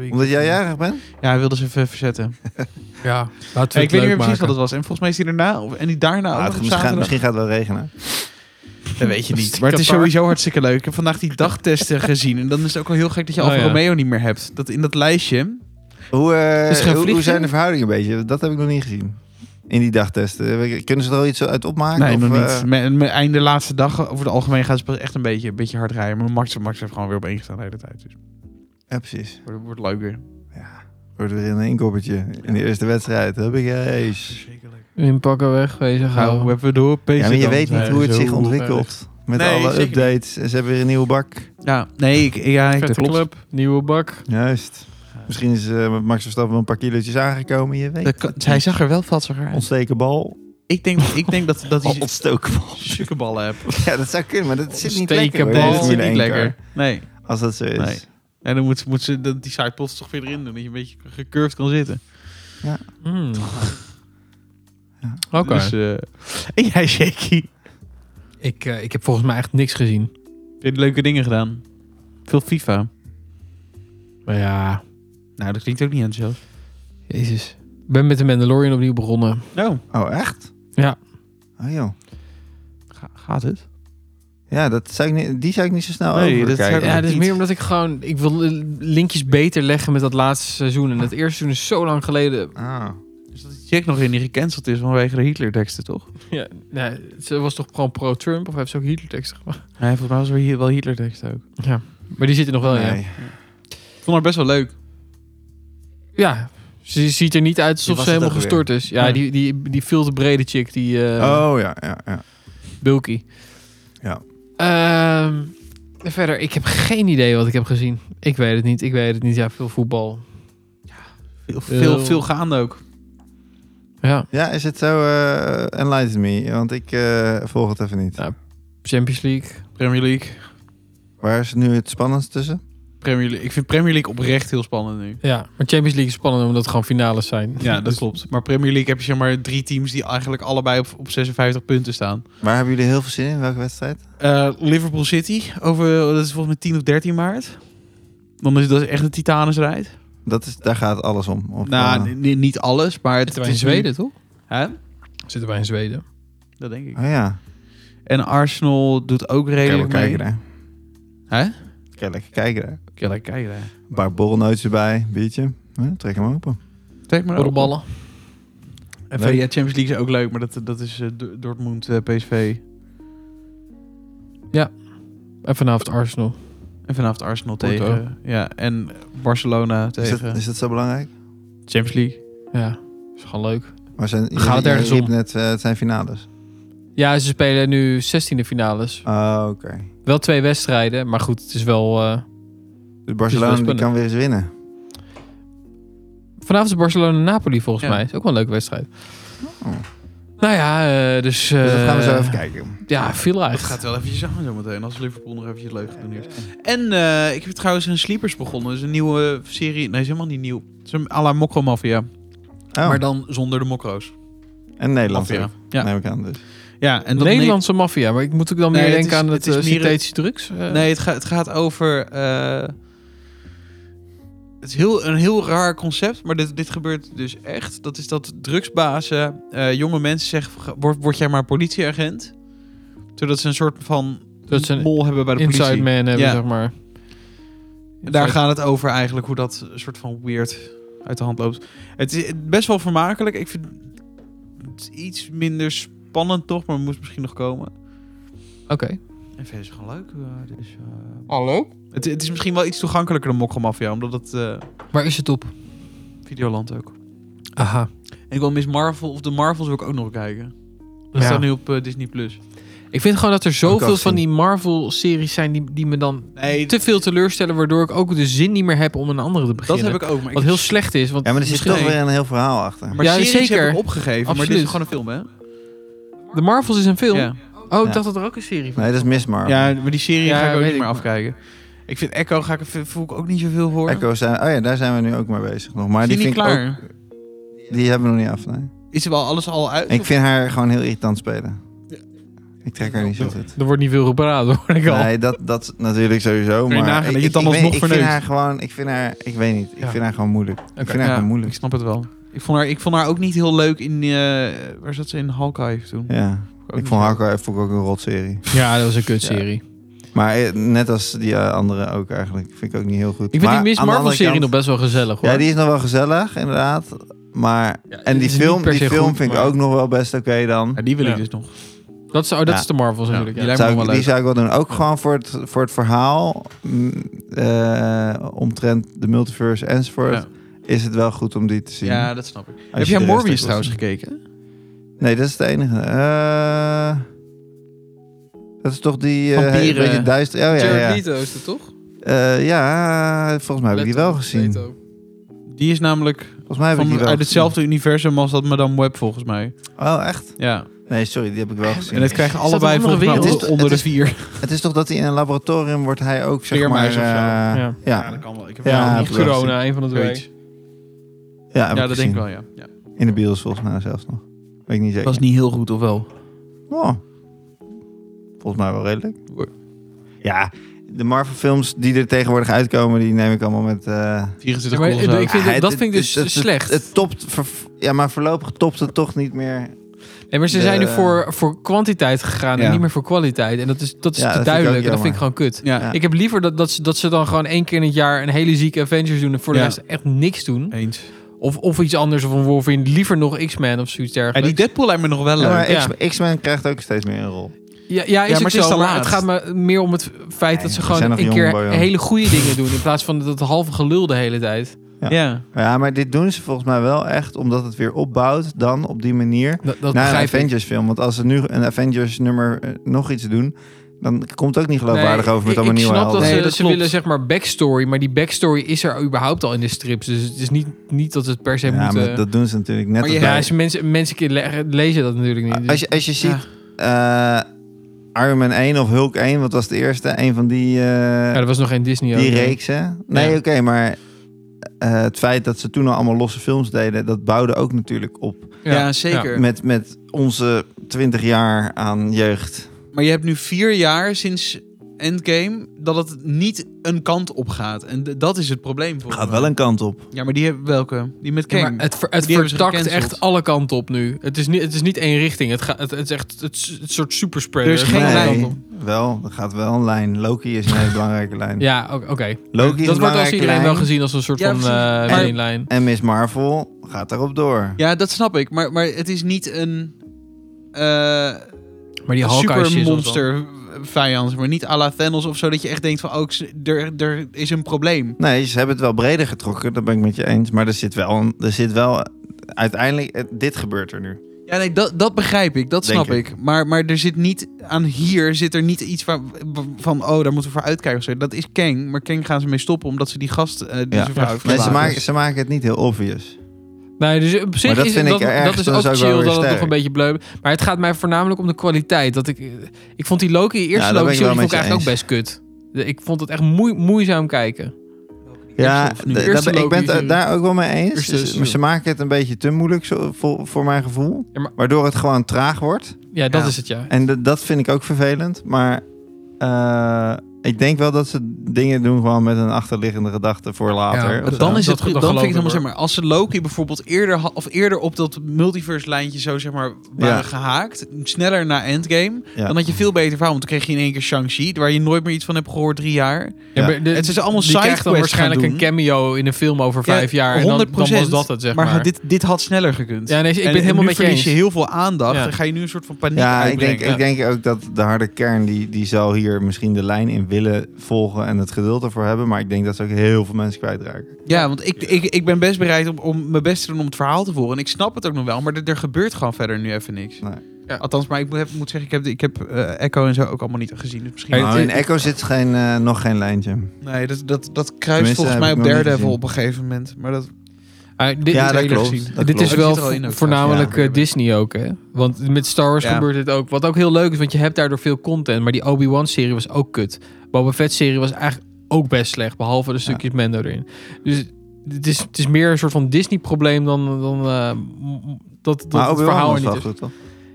[SPEAKER 2] ik-
[SPEAKER 3] Omdat jij jarig bent? Ah,
[SPEAKER 2] Ja, hij wilde ze even verzetten.
[SPEAKER 4] Ja,
[SPEAKER 2] Ja, ik weet niet meer precies wat het was. En volgens mij is hij daarna, of, en die daarna
[SPEAKER 3] Ah,
[SPEAKER 2] ook
[SPEAKER 3] het
[SPEAKER 2] nog op
[SPEAKER 3] gaat misschien,
[SPEAKER 2] zaterdag.
[SPEAKER 3] misschien gaat het wel regenen.
[SPEAKER 2] Dat weet je niet. (laughs)
[SPEAKER 4] Stikke
[SPEAKER 2] Maar het is
[SPEAKER 4] apart.
[SPEAKER 2] sowieso hartstikke leuk. Ik heb vandaag die dagtesten gezien. En dan is het ook wel heel gek dat je
[SPEAKER 4] Oh,
[SPEAKER 2] Alfa
[SPEAKER 4] ja.
[SPEAKER 2] Romeo niet meer hebt. Dat in dat lijstje.
[SPEAKER 3] Hoe, eh,
[SPEAKER 4] Is er geen
[SPEAKER 3] hoe, hoe
[SPEAKER 4] vliegtuig?
[SPEAKER 3] zijn de verhoudingen een beetje? Dat heb ik nog niet gezien. In die dagtesten. Eh, Kunnen ze er al iets uit opmaken?
[SPEAKER 2] Nee,
[SPEAKER 3] Of,
[SPEAKER 2] nog
[SPEAKER 3] eh,
[SPEAKER 2] niet. Me- me- einde laatste dag, eh, over het algemeen gaan ze pas echt een beetje, een beetje hard rijden. Maar Max, Max heeft gewoon weer op één gestaan de hele tijd. Dus
[SPEAKER 3] ja, precies.
[SPEAKER 2] wordt, wordt leuk weer.
[SPEAKER 3] Wordt weer een inkoppertje in de eerste wedstrijd. Heb ik eens.
[SPEAKER 4] In pakken weg, wezen
[SPEAKER 2] Gauw, we
[SPEAKER 4] gauw.
[SPEAKER 2] hebben door.
[SPEAKER 3] Ja, maar je
[SPEAKER 2] Peter
[SPEAKER 3] weet
[SPEAKER 2] dan.
[SPEAKER 3] niet hoe het
[SPEAKER 4] zo
[SPEAKER 3] zich ontwikkelt. Met
[SPEAKER 2] Nee,
[SPEAKER 3] alle
[SPEAKER 2] zeker niet.
[SPEAKER 3] updates. En Ze hebben weer een nieuwe bak.
[SPEAKER 2] Ja, nee, ik, ja, ik, dat
[SPEAKER 4] Vette
[SPEAKER 2] klopt.
[SPEAKER 4] club, nieuwe bak.
[SPEAKER 3] Juist. Misschien is eh, met Max Verstappen wel een paar kilootjes aangekomen. Je weet.
[SPEAKER 2] Dat kan- hij zag er wel vatsiger uit.
[SPEAKER 3] Ontsteken bal.
[SPEAKER 2] Ik denk, ik denk dat, (laughs) dat hij
[SPEAKER 3] Ontstoken
[SPEAKER 2] oh.
[SPEAKER 3] bal. (laughs)
[SPEAKER 2] stukkenballen hebt.
[SPEAKER 3] Ja, dat zou kunnen, maar dat zit niet
[SPEAKER 4] Ontsteken
[SPEAKER 3] lekker. hoor,
[SPEAKER 4] bal.
[SPEAKER 3] in de
[SPEAKER 4] Nee, dat
[SPEAKER 3] Formule
[SPEAKER 4] zit
[SPEAKER 3] één kar.
[SPEAKER 2] Nee.
[SPEAKER 3] Als dat zo is.
[SPEAKER 2] Nee. En dan moet, moet ze dat- die sidepods toch weer erin doen. Dat je een beetje gecurved kan zitten.
[SPEAKER 4] Hmm.
[SPEAKER 3] Ja.
[SPEAKER 4] Oké.
[SPEAKER 2] Dus, eh, (laughs) en jij, Shaky?
[SPEAKER 4] ik, eh, ik heb volgens mij echt niks gezien.
[SPEAKER 2] Heb je leuke dingen gedaan? Veel FIFA.
[SPEAKER 4] Maar ja,
[SPEAKER 2] Nou, dat klinkt ook niet enthousiast.
[SPEAKER 4] jezus. Ik ben met de Mandalorian opnieuw begonnen.
[SPEAKER 2] Nou,
[SPEAKER 3] Oh, echt?
[SPEAKER 4] Ja.
[SPEAKER 3] Oh joh.
[SPEAKER 2] ga- gaat het?
[SPEAKER 3] Ja, dat zou ik niet, die zou ik niet zo snel
[SPEAKER 2] Nee,
[SPEAKER 3] over
[SPEAKER 2] dat zou ik-
[SPEAKER 3] kijken.
[SPEAKER 4] Ja,
[SPEAKER 2] Ja,
[SPEAKER 4] dat is
[SPEAKER 2] iets.
[SPEAKER 4] meer omdat ik gewoon... Ik wil eh, linkjes beter leggen met dat laatste seizoen. En dat eerste seizoen is zo lang geleden.
[SPEAKER 3] Ah.
[SPEAKER 2] Dus dat die check nog weer niet gecanceld is vanwege de Hitler-teksten, toch?
[SPEAKER 4] Ja, nee, ze was toch gewoon pro-Trump? Of heeft ze ook Hitler-teksten gemaakt?
[SPEAKER 2] Nee, volgens mij was er hier wel Hitler-teksten ook.
[SPEAKER 4] Maar die zitten nog wel, ja.
[SPEAKER 3] nee.
[SPEAKER 2] Ik vond haar best wel leuk.
[SPEAKER 4] Ja, ze ziet er niet uit
[SPEAKER 3] Wie
[SPEAKER 4] alsof
[SPEAKER 3] was
[SPEAKER 4] ze
[SPEAKER 3] het
[SPEAKER 4] helemaal
[SPEAKER 3] ook alweer?
[SPEAKER 4] gestort is. Ja,
[SPEAKER 2] Ja.
[SPEAKER 4] die, die, die veel te brede chick, die eh
[SPEAKER 3] oh ja, ja, ja.
[SPEAKER 4] Bulky.
[SPEAKER 3] Ja.
[SPEAKER 4] Ehm, verder, ik heb geen idee wat ik heb gezien. Ik weet het niet, ik weet het niet. Ja, veel voetbal.
[SPEAKER 2] Veel,
[SPEAKER 4] Heel-
[SPEAKER 2] veel, veel gaande ook.
[SPEAKER 4] Ja,
[SPEAKER 3] Ja, is het zo? eh, enlighten me, want ik eh, volg het even niet.
[SPEAKER 4] Ja. Champions League.
[SPEAKER 2] Premier League.
[SPEAKER 3] Waar is nu het spannendst tussen?
[SPEAKER 2] Premier League. Ik vind Premier League oprecht heel spannend nu.
[SPEAKER 4] Ja, maar Champions League is spannend omdat het gewoon finales
[SPEAKER 2] (laughs)
[SPEAKER 4] zijn.
[SPEAKER 2] Ja, dat
[SPEAKER 4] (laughs) Dus-
[SPEAKER 2] klopt. Maar Premier League heb je zeg maar drie teams die eigenlijk allebei op, op 56 punten staan.
[SPEAKER 3] Waar hebben jullie heel veel zin in? Welke wedstrijd?
[SPEAKER 2] Eh, Liverpool City, over, dat is volgens mij 10 of 13 maart. Dan is dat is echt een titanenstrijd.
[SPEAKER 3] Dat is, daar gaat alles om. Op,
[SPEAKER 2] nou,
[SPEAKER 3] eh,
[SPEAKER 2] n- n- niet alles, maar het,
[SPEAKER 4] Zitten wij
[SPEAKER 2] het
[SPEAKER 4] in
[SPEAKER 2] is nu-
[SPEAKER 4] Zweden, toch?
[SPEAKER 2] Hè?
[SPEAKER 4] Zitten wij in Zweden.
[SPEAKER 2] Dat denk ik.
[SPEAKER 3] oh ja,
[SPEAKER 2] En Arsenal doet ook
[SPEAKER 3] kan je
[SPEAKER 2] redelijk mee.
[SPEAKER 3] kijken daar.
[SPEAKER 2] Hè?
[SPEAKER 3] Kan je lekker kijken daar.
[SPEAKER 2] Ja, lekker kijken. hè.
[SPEAKER 3] Een paar borrelnootjes erbij, biertje. Hè, trek hem open.
[SPEAKER 2] Trek maar op.
[SPEAKER 4] Borrelballen.
[SPEAKER 2] En
[SPEAKER 3] Leuk.
[SPEAKER 2] ja, Champions League is ook leuk, maar dat, dat is eh, Do- Dortmund, eh, PSV.
[SPEAKER 4] En vanavond Arsenal.
[SPEAKER 2] En vanavond Arsenal
[SPEAKER 4] Porto.
[SPEAKER 2] tegen. Ja, en Barcelona
[SPEAKER 3] Is dat,
[SPEAKER 2] tegen
[SPEAKER 3] is dat zo belangrijk?
[SPEAKER 2] Champions League.
[SPEAKER 4] Ja, is gewoon leuk.
[SPEAKER 3] Maar zijn,
[SPEAKER 4] Gaat het
[SPEAKER 3] je
[SPEAKER 4] ergens
[SPEAKER 3] riep
[SPEAKER 4] om?
[SPEAKER 3] net, eh, het zijn finales.
[SPEAKER 4] Ja, ze spelen nu 16e finales.
[SPEAKER 3] Oh, oké.
[SPEAKER 4] Wel twee wedstrijden, maar goed, het is wel... eh,
[SPEAKER 3] Dus Barcelona die
[SPEAKER 4] spannend.
[SPEAKER 3] kan weer eens winnen.
[SPEAKER 4] Vanavond is Barcelona-Napoli volgens
[SPEAKER 2] Ja. Oh.
[SPEAKER 4] mij. Is ook wel een leuke wedstrijd. Nou ja, eh, dus... eh
[SPEAKER 3] Dus dat gaan we zo even kijken.
[SPEAKER 4] Ja, veel
[SPEAKER 2] Het
[SPEAKER 4] uit.
[SPEAKER 2] gaat wel eventjes aan zo meteen, als Liverpool nog eventjes leuk gaat doen hier. En eh, ik heb trouwens een Sleepers begonnen. Dat is een nieuwe serie. Nee, is helemaal niet nieuw. Het is een à la Mokro Mafia.
[SPEAKER 3] Oh,
[SPEAKER 2] Maar dan zonder de mokro's.
[SPEAKER 3] en Nederland
[SPEAKER 2] Mafia.
[SPEAKER 3] ook.
[SPEAKER 2] Ja.
[SPEAKER 3] Neem ik aan dus.
[SPEAKER 2] Ja, en dat
[SPEAKER 4] Nederlandse maffia, maar ik moet ook dan
[SPEAKER 2] Nee,
[SPEAKER 4] meer
[SPEAKER 2] het is-
[SPEAKER 4] denken aan
[SPEAKER 2] het
[SPEAKER 4] het
[SPEAKER 2] is
[SPEAKER 4] eh,
[SPEAKER 2] meer-
[SPEAKER 4] synthetische drugs. eh.
[SPEAKER 2] Nee, het, ga- het gaat over eh, Het is heel, een heel raar concept, maar dit, dit gebeurt dus echt. Dat is dat drugsbazen eh, jonge mensen zeggen: van, word, word jij maar politieagent? Zodat ze een soort van
[SPEAKER 4] Dat ze een
[SPEAKER 2] mol hebben bij de politie.
[SPEAKER 4] Inside man hebben,
[SPEAKER 2] Ja.
[SPEAKER 4] zeg maar.
[SPEAKER 2] En Daar gaat het over eigenlijk, hoe dat een soort van weird uit de hand loopt. Het is best wel vermakelijk. Ik vind het iets minder spannend toch, maar het moest misschien nog komen.
[SPEAKER 4] Oké.
[SPEAKER 2] En verder is het gewoon leuk. eh, dus, eh,
[SPEAKER 4] Hallo?
[SPEAKER 2] het, het is misschien wel iets toegankelijker dan Mokkelmafia, omdat het eh,
[SPEAKER 4] Waar is het op?
[SPEAKER 2] Videoland ook.
[SPEAKER 4] Aha.
[SPEAKER 2] En ik wil Miss Marvel of de Marvels wil ik ook nog kijken. Dat
[SPEAKER 4] Ja.
[SPEAKER 2] staat nu op eh, Disney+. Plus.
[SPEAKER 4] Ik vind gewoon dat er zoveel
[SPEAKER 3] gezien.
[SPEAKER 4] van die Marvel-series zijn die, die me dan
[SPEAKER 2] Nee,
[SPEAKER 4] te veel teleurstellen, waardoor ik ook de zin niet meer heb om een andere te
[SPEAKER 2] dat
[SPEAKER 4] beginnen.
[SPEAKER 2] heb ik ook. Maar,
[SPEAKER 4] Wat
[SPEAKER 2] ik,
[SPEAKER 4] heel slecht is, want
[SPEAKER 3] Ja, maar er zit
[SPEAKER 4] misschien-
[SPEAKER 3] toch weer een heel verhaal achter.
[SPEAKER 2] maar
[SPEAKER 4] Ja,
[SPEAKER 2] series
[SPEAKER 4] zeker.
[SPEAKER 2] heb ik opgegeven, maar dit is
[SPEAKER 4] Absoluut.
[SPEAKER 2] gewoon een film, hè?
[SPEAKER 4] de Marvels is een film.
[SPEAKER 2] Ja.
[SPEAKER 4] Oh, ik
[SPEAKER 3] Ja.
[SPEAKER 4] dacht dat er ook een serie van
[SPEAKER 3] Nee, dat is Miss Marvel.
[SPEAKER 2] Ja, maar die serie
[SPEAKER 4] Ja,
[SPEAKER 2] ga ik ook
[SPEAKER 4] weet
[SPEAKER 2] niet
[SPEAKER 4] ik,
[SPEAKER 2] meer
[SPEAKER 4] maar-
[SPEAKER 2] afkijken. Ik vind Echo ga ik, voel ik ook niet zoveel voor.
[SPEAKER 3] Echo zijn, oh ja, daar zijn we nu ook mee bezig nog. Maar
[SPEAKER 2] Is
[SPEAKER 3] die,
[SPEAKER 2] die
[SPEAKER 3] vind
[SPEAKER 2] niet
[SPEAKER 3] Ik
[SPEAKER 2] klaar?
[SPEAKER 3] ook, die hebben we nog niet af. Nee.
[SPEAKER 2] Is er wel alles al uit?
[SPEAKER 3] En Ik vind haar gewoon heel irritant spelen. Ik trek haar niet zo goed.
[SPEAKER 4] Er wordt niet veel gepraat, (laughs) hoor ik al.
[SPEAKER 3] Nee, dat, dat is natuurlijk sowieso.
[SPEAKER 2] Kun je
[SPEAKER 3] Maar
[SPEAKER 2] nagaan dat je
[SPEAKER 3] ik,
[SPEAKER 2] het dan
[SPEAKER 3] ik, ik,
[SPEAKER 2] alsnog
[SPEAKER 3] weet- ik vind
[SPEAKER 2] verneukt?
[SPEAKER 3] haar gewoon, ik vind haar, ik weet niet, ik
[SPEAKER 4] Ja.
[SPEAKER 3] vind haar gewoon moeilijk. ik vind haar
[SPEAKER 2] Ja,
[SPEAKER 3] gewoon
[SPEAKER 2] Ik
[SPEAKER 3] moeilijk.
[SPEAKER 2] snap het wel. Ik vond haar, ik vond haar ook niet heel leuk in... eh, waar zat ze in? Hawkeye toen.
[SPEAKER 3] Ja,
[SPEAKER 2] Ook
[SPEAKER 3] ik
[SPEAKER 2] niet
[SPEAKER 3] vond
[SPEAKER 2] zo.
[SPEAKER 3] haar ook ook een rotserie.
[SPEAKER 4] Ja, dat was een kutserie.
[SPEAKER 3] Maar eh, net als die eh, andere ook eigenlijk, vind ik ook niet heel goed.
[SPEAKER 4] Ik vind
[SPEAKER 3] maar
[SPEAKER 4] die Miss
[SPEAKER 3] aan de andere
[SPEAKER 4] Marvel-serie
[SPEAKER 3] kant-
[SPEAKER 4] nog best wel gezellig, hoor.
[SPEAKER 3] Ja, die is nog wel gezellig, inderdaad. Maar, en
[SPEAKER 4] het
[SPEAKER 3] die
[SPEAKER 4] is niet
[SPEAKER 3] film,
[SPEAKER 4] per
[SPEAKER 3] die
[SPEAKER 4] se
[SPEAKER 3] film
[SPEAKER 4] goed,
[SPEAKER 3] vind
[SPEAKER 4] maar-
[SPEAKER 3] ik ook nog wel best oké dan.
[SPEAKER 2] Ja, die wil
[SPEAKER 4] Ja.
[SPEAKER 2] ik dus nog.
[SPEAKER 4] Dat is, oh, dat
[SPEAKER 3] Ja.
[SPEAKER 4] is de Marvels
[SPEAKER 3] Ja.
[SPEAKER 4] natuurlijk, ja.
[SPEAKER 2] Die lijkt me
[SPEAKER 3] Zou
[SPEAKER 2] wel
[SPEAKER 3] ik,
[SPEAKER 2] leuk.
[SPEAKER 3] die zou ik wel doen. Ook gewoon voor het, voor het verhaal mm, eh, omtrent de multiverse enzovoort.
[SPEAKER 2] Ja.
[SPEAKER 3] Is het wel goed om die te zien.
[SPEAKER 2] Ja, dat snap ik. Heb
[SPEAKER 3] je
[SPEAKER 2] jij
[SPEAKER 3] de rest ook
[SPEAKER 2] Morbius
[SPEAKER 3] wel
[SPEAKER 2] trouwens
[SPEAKER 3] ziet.
[SPEAKER 2] gekeken?
[SPEAKER 3] Nee, dat is het enige. Eh, dat is toch die... eh,
[SPEAKER 2] Vampieren.
[SPEAKER 3] een beetje duister. Oh, ja, ja.
[SPEAKER 4] is dat toch?
[SPEAKER 3] Eh, ja, volgens mij heb ik die wel gezien.
[SPEAKER 2] Die is namelijk
[SPEAKER 3] Volgens mij heb ik
[SPEAKER 2] van,
[SPEAKER 3] die wel
[SPEAKER 2] uit
[SPEAKER 3] gezien.
[SPEAKER 2] hetzelfde universum als dat Madame Web volgens mij.
[SPEAKER 3] Oh, echt?
[SPEAKER 2] Ja.
[SPEAKER 3] Nee, sorry, die heb ik wel gezien.
[SPEAKER 2] En het krijgt
[SPEAKER 4] dat
[SPEAKER 2] allebei
[SPEAKER 4] een andere
[SPEAKER 2] volgens mij
[SPEAKER 3] wereld?
[SPEAKER 2] onder
[SPEAKER 3] Het
[SPEAKER 2] de
[SPEAKER 3] is-
[SPEAKER 2] vier.
[SPEAKER 3] Het is toch dat hij in een laboratorium wordt hij ook, zeg maar...
[SPEAKER 2] Vleermuis of zo.
[SPEAKER 3] eh,
[SPEAKER 4] Ja.
[SPEAKER 3] ja.
[SPEAKER 2] kan wel. Ik heb
[SPEAKER 3] Ja,
[SPEAKER 2] wel
[SPEAKER 3] heb
[SPEAKER 4] Of
[SPEAKER 3] ik wel
[SPEAKER 4] corona, een van de
[SPEAKER 2] zoiets.
[SPEAKER 4] twee.
[SPEAKER 3] Ja,
[SPEAKER 2] Ja, dat
[SPEAKER 3] heb
[SPEAKER 2] denk ik
[SPEAKER 3] gezien.
[SPEAKER 2] wel, ja. ja.
[SPEAKER 3] In de bios volgens mij zelfs nog. Weet ik niet zeker.
[SPEAKER 2] Was niet heel goed, of wel?
[SPEAKER 3] Oh. Volgens mij wel redelijk.
[SPEAKER 2] Hoor.
[SPEAKER 3] Ja, de Marvel films die er tegenwoordig uitkomen, die neem ik allemaal met... eh,
[SPEAKER 2] 24
[SPEAKER 4] Ja, maar
[SPEAKER 2] koolzaad.
[SPEAKER 4] ik vind-
[SPEAKER 3] ah, het-
[SPEAKER 4] dat vind ik dus
[SPEAKER 3] het- het-
[SPEAKER 4] slecht.
[SPEAKER 3] Het, topt, ver- ja, maar voorlopig topt het toch niet meer.
[SPEAKER 4] Nee, maar ze
[SPEAKER 3] De-
[SPEAKER 4] zijn nu voor, voor kwantiteit gegaan en
[SPEAKER 2] Ja.
[SPEAKER 4] niet meer voor kwaliteit. En dat is, dat is
[SPEAKER 3] Ja, dat vind
[SPEAKER 4] te
[SPEAKER 3] ik ook
[SPEAKER 4] duidelijk en dat vind ik
[SPEAKER 3] jammer.
[SPEAKER 4] gewoon kut.
[SPEAKER 2] Ja,
[SPEAKER 3] Ja.
[SPEAKER 4] Ik heb liever dat, dat, ze, dat ze dan gewoon één keer in het jaar een hele zieke Avengers doen en voor de
[SPEAKER 2] Ja.
[SPEAKER 4] rest echt niks doen.
[SPEAKER 2] eens.
[SPEAKER 4] Of, of iets anders, of een Wolverine, liever nog X-Men of zoiets
[SPEAKER 2] En
[SPEAKER 4] dergelijks.
[SPEAKER 2] die Deadpool lijkt me nog wel
[SPEAKER 3] Ja,
[SPEAKER 2] leuk.
[SPEAKER 3] maar
[SPEAKER 4] Ja.
[SPEAKER 3] X- X-Men krijgt ook steeds meer een rol.
[SPEAKER 4] Ja, ja, is
[SPEAKER 2] Ja, maar
[SPEAKER 4] ook
[SPEAKER 2] het is
[SPEAKER 4] zo,
[SPEAKER 2] te
[SPEAKER 4] maar
[SPEAKER 2] laat.
[SPEAKER 4] het gaat me meer om het feit
[SPEAKER 3] Nee,
[SPEAKER 4] dat ze
[SPEAKER 3] we zijn
[SPEAKER 4] gewoon
[SPEAKER 3] nog
[SPEAKER 4] een
[SPEAKER 3] jong,
[SPEAKER 4] keer
[SPEAKER 3] boy, hoor.
[SPEAKER 4] hele goede dingen doen in plaats van dat halve gelul de hele tijd.
[SPEAKER 2] Ja.
[SPEAKER 3] Ja. Ja, maar dit doen ze volgens mij wel echt omdat het weer opbouwt dan op die manier
[SPEAKER 4] Dat, dat
[SPEAKER 3] naar een
[SPEAKER 4] begrijp ik.
[SPEAKER 3] Avengers film. Want als ze nu een Avengers nummer eh, nog iets doen, dan komt het ook niet geloofwaardig
[SPEAKER 4] Nee,
[SPEAKER 3] over met
[SPEAKER 4] ik-
[SPEAKER 3] allemaal
[SPEAKER 4] ik
[SPEAKER 3] nieuwe
[SPEAKER 4] snap dat
[SPEAKER 3] helden.
[SPEAKER 4] ze,
[SPEAKER 2] Nee, dat
[SPEAKER 4] ze
[SPEAKER 2] klopt.
[SPEAKER 4] willen zeg maar backstory, maar die backstory is er überhaupt al in de strips. Dus het is niet, niet dat het per se
[SPEAKER 3] ja,
[SPEAKER 4] moet...
[SPEAKER 3] maar
[SPEAKER 4] eh,
[SPEAKER 3] dat doen ze natuurlijk net
[SPEAKER 2] Maar
[SPEAKER 3] als
[SPEAKER 2] je-
[SPEAKER 3] bij-
[SPEAKER 4] ja, ze- mensen, mensen ke- le- lezen dat natuurlijk niet. dus-
[SPEAKER 3] Als je, als je ziet eh, Iron Man 1 of Hulk 1, wat was de eerste? Een van die, eh,
[SPEAKER 4] ja, er was nog geen Disney
[SPEAKER 3] die
[SPEAKER 4] ook, hè.
[SPEAKER 3] reeksen. Nee,
[SPEAKER 4] Ja.
[SPEAKER 3] oké, maar eh, het feit dat ze toen al allemaal losse films deden, dat bouwde ook natuurlijk op.
[SPEAKER 2] Ja, zeker.
[SPEAKER 3] Met, met onze 20 jaar aan jeugd.
[SPEAKER 2] Maar je hebt nu vier jaar sinds Endgame dat het niet een kant op gaat. En d- dat is het probleem voor
[SPEAKER 3] Gaat
[SPEAKER 2] me.
[SPEAKER 3] wel een kant op.
[SPEAKER 2] Ja, maar die hebben welke? Die met
[SPEAKER 4] Ja,
[SPEAKER 2] Kang.
[SPEAKER 4] maar het ver, het
[SPEAKER 2] Die hebben ze
[SPEAKER 4] vertakt
[SPEAKER 2] gecanceld.
[SPEAKER 4] echt alle kanten op nu. Het is niet, het is niet één richting. Het, gaat, het, het is echt het, is een soort superspreader.
[SPEAKER 2] Er is geen
[SPEAKER 4] Alle
[SPEAKER 2] lijn.
[SPEAKER 4] kanten op.
[SPEAKER 3] Wel, er gaat wel een lijn. Loki is een hele belangrijke lijn.
[SPEAKER 4] Ja, o- oké.
[SPEAKER 3] Loki is
[SPEAKER 4] Dat
[SPEAKER 3] een
[SPEAKER 4] wordt als
[SPEAKER 3] belangrijke
[SPEAKER 4] iedereen
[SPEAKER 3] lijn.
[SPEAKER 4] wel gezien als een soort
[SPEAKER 2] Ja,
[SPEAKER 4] van
[SPEAKER 2] precies.
[SPEAKER 4] eh
[SPEAKER 2] Maar-
[SPEAKER 4] mainlijn.
[SPEAKER 3] En Miss Marvel gaat daarop door.
[SPEAKER 2] Ja, dat snap ik. Maar, maar het is niet een eh
[SPEAKER 4] Maar die Hawkeye shit
[SPEAKER 2] super
[SPEAKER 4] was wel-
[SPEAKER 2] monster vijand. Maar niet à la Thanos of zo. Dat je echt denkt van, oh, ik s- er, er is een probleem.
[SPEAKER 3] Nee, ze hebben het wel breder getrokken, dat ben ik met je eens. Maar er zit wel, een- er zit wel uiteindelijk, eh, dit gebeurt er nu.
[SPEAKER 2] Ja, nee, dat, dat begrijp ik. Dat
[SPEAKER 3] Denk
[SPEAKER 2] snap ik.
[SPEAKER 3] ik.
[SPEAKER 2] Maar, maar er zit niet aan hier zit er niet iets waar, van, oh, daar moeten we voor uitkijken. of zo. Dat is Kang. Maar Kang gaan ze mee stoppen omdat ze die gast, eh, die
[SPEAKER 3] Ja.
[SPEAKER 2] ze vrouw
[SPEAKER 4] Ja,
[SPEAKER 2] heeft
[SPEAKER 3] Nee, ze,
[SPEAKER 2] verlaten.
[SPEAKER 3] maken, ze maken het niet heel obvious.
[SPEAKER 4] Nee, dus op zich
[SPEAKER 3] Maar dat
[SPEAKER 4] is
[SPEAKER 3] vind ik
[SPEAKER 4] dat,
[SPEAKER 3] ergens,
[SPEAKER 4] dat is
[SPEAKER 3] dat
[SPEAKER 4] ook
[SPEAKER 3] is ook wel
[SPEAKER 4] chill
[SPEAKER 3] weer
[SPEAKER 4] dat het
[SPEAKER 3] sterk.
[SPEAKER 4] nog een beetje bleu. Maar het gaat mij voornamelijk om de kwaliteit. Dat ik, ik vond die Loki, die
[SPEAKER 3] Ja,
[SPEAKER 4] eerste
[SPEAKER 3] daar ben
[SPEAKER 4] Loki,
[SPEAKER 3] ik
[SPEAKER 4] serie
[SPEAKER 3] wel
[SPEAKER 4] vond ik
[SPEAKER 3] met je
[SPEAKER 4] eigenlijk ook best kut. De- Ik vond het echt moe- moeizaam kijken.
[SPEAKER 3] Ja,
[SPEAKER 4] of nu?
[SPEAKER 3] d-
[SPEAKER 4] Eerste
[SPEAKER 3] dat ben- ik ben
[SPEAKER 4] Loki-serie.
[SPEAKER 3] het daar ook wel mee eens.
[SPEAKER 4] Eerste
[SPEAKER 3] Ze, maar ze maken het een beetje te moeilijk zo, voor, voor mijn gevoel.
[SPEAKER 4] Ja, maar-
[SPEAKER 3] Waardoor het gewoon traag wordt.
[SPEAKER 4] Ja, dat
[SPEAKER 2] Ja.
[SPEAKER 4] is het ja.
[SPEAKER 3] En d- dat vind ik ook vervelend. Maar eh, Ik denk wel dat ze dingen doen gewoon met een achterliggende gedachte voor later.
[SPEAKER 4] Ja,
[SPEAKER 3] of zo.
[SPEAKER 2] Dan, is
[SPEAKER 4] dat-
[SPEAKER 2] het, pri- dan
[SPEAKER 4] dat
[SPEAKER 2] vind
[SPEAKER 4] geloof
[SPEAKER 2] ik het
[SPEAKER 4] ik
[SPEAKER 2] helemaal, zeg
[SPEAKER 4] hoor.
[SPEAKER 2] maar, als ze Loki bijvoorbeeld eerder, ha- of eerder op dat multiverse lijntje zo, zeg maar, waren
[SPEAKER 3] Ja.
[SPEAKER 2] gehaakt, sneller naar Endgame,
[SPEAKER 3] Ja.
[SPEAKER 2] dan had je veel beter verhaal, want toen kreeg je in één keer Shang-Chi, waar je nooit meer iets van hebt gehoord, drie jaar.
[SPEAKER 3] Ja.
[SPEAKER 4] maar de-
[SPEAKER 2] Het is allemaal
[SPEAKER 4] die krijgt dan
[SPEAKER 2] sidequests gaan
[SPEAKER 4] waarschijnlijk een
[SPEAKER 2] doen.
[SPEAKER 4] cameo in een film over
[SPEAKER 2] Ja,
[SPEAKER 4] vijf jaar. En dan, dan
[SPEAKER 2] 100%,
[SPEAKER 4] was dat het, zeg maar.
[SPEAKER 2] maar dit, dit had sneller gekund.
[SPEAKER 4] Ja, nee, ik ben
[SPEAKER 2] En-
[SPEAKER 4] het
[SPEAKER 2] en
[SPEAKER 4] helemaal
[SPEAKER 2] nu
[SPEAKER 4] met je
[SPEAKER 2] verlies
[SPEAKER 4] eens.
[SPEAKER 2] je heel veel aandacht,
[SPEAKER 4] Ja.
[SPEAKER 2] dan ga je nu een soort van paniek
[SPEAKER 3] Ja, ik
[SPEAKER 2] uitbrengen.
[SPEAKER 3] denk, ik denk ook dat de harde kern, die, die zal hier misschien de lijn in willen volgen en het geduld ervoor hebben. Maar ik denk dat ze ook heel veel mensen kwijtraken.
[SPEAKER 2] Ja, want ik, ik, ik ben best bereid om, om mijn best te doen om het verhaal te volgen. En ik snap het ook nog wel, maar er, er gebeurt gewoon verder nu even niks.
[SPEAKER 3] Nee.
[SPEAKER 4] Ja.
[SPEAKER 2] Althans, maar ik moet, even- moet zeggen, ik heb, de- ik heb eh, Echo en zo ook allemaal niet gezien. Dus misschien...
[SPEAKER 4] Hey,
[SPEAKER 3] Nou,
[SPEAKER 4] het-
[SPEAKER 3] in Echo zit geen, eh, nog geen lijntje.
[SPEAKER 2] Nee, dat, dat, dat
[SPEAKER 3] Tenminste,
[SPEAKER 2] kruist volgens
[SPEAKER 3] heb
[SPEAKER 2] mij
[SPEAKER 3] ik
[SPEAKER 2] op
[SPEAKER 3] nog niet
[SPEAKER 2] Daredevil
[SPEAKER 3] gezien.
[SPEAKER 2] op een gegeven moment. Maar dat,
[SPEAKER 4] Ah,
[SPEAKER 3] ja,
[SPEAKER 4] dit dit-
[SPEAKER 3] dat
[SPEAKER 2] eerder
[SPEAKER 3] klopt.
[SPEAKER 2] gezien.
[SPEAKER 3] dat
[SPEAKER 4] dit
[SPEAKER 3] klopt.
[SPEAKER 4] is wel
[SPEAKER 2] zit er al in ook,
[SPEAKER 4] voornamelijk
[SPEAKER 2] trouwens.
[SPEAKER 4] eh, Disney ook, hè? Want met Star Wars
[SPEAKER 2] Ja.
[SPEAKER 4] gebeurt dit ook. Wat ook heel leuk is, want je hebt daardoor veel content. Maar die Obi-Wan-serie was ook kut. Boba Fett-serie was eigenlijk ook best slecht. Behalve de stukjes Mando erin. Dus het is, het is meer een soort van Disney-probleem dan, dan eh, m- m- dat, dat
[SPEAKER 3] Maar
[SPEAKER 4] het
[SPEAKER 3] ook
[SPEAKER 4] verhaal
[SPEAKER 3] verhaal
[SPEAKER 4] er
[SPEAKER 3] is
[SPEAKER 4] niet
[SPEAKER 3] wel
[SPEAKER 4] is.
[SPEAKER 3] goed, toch?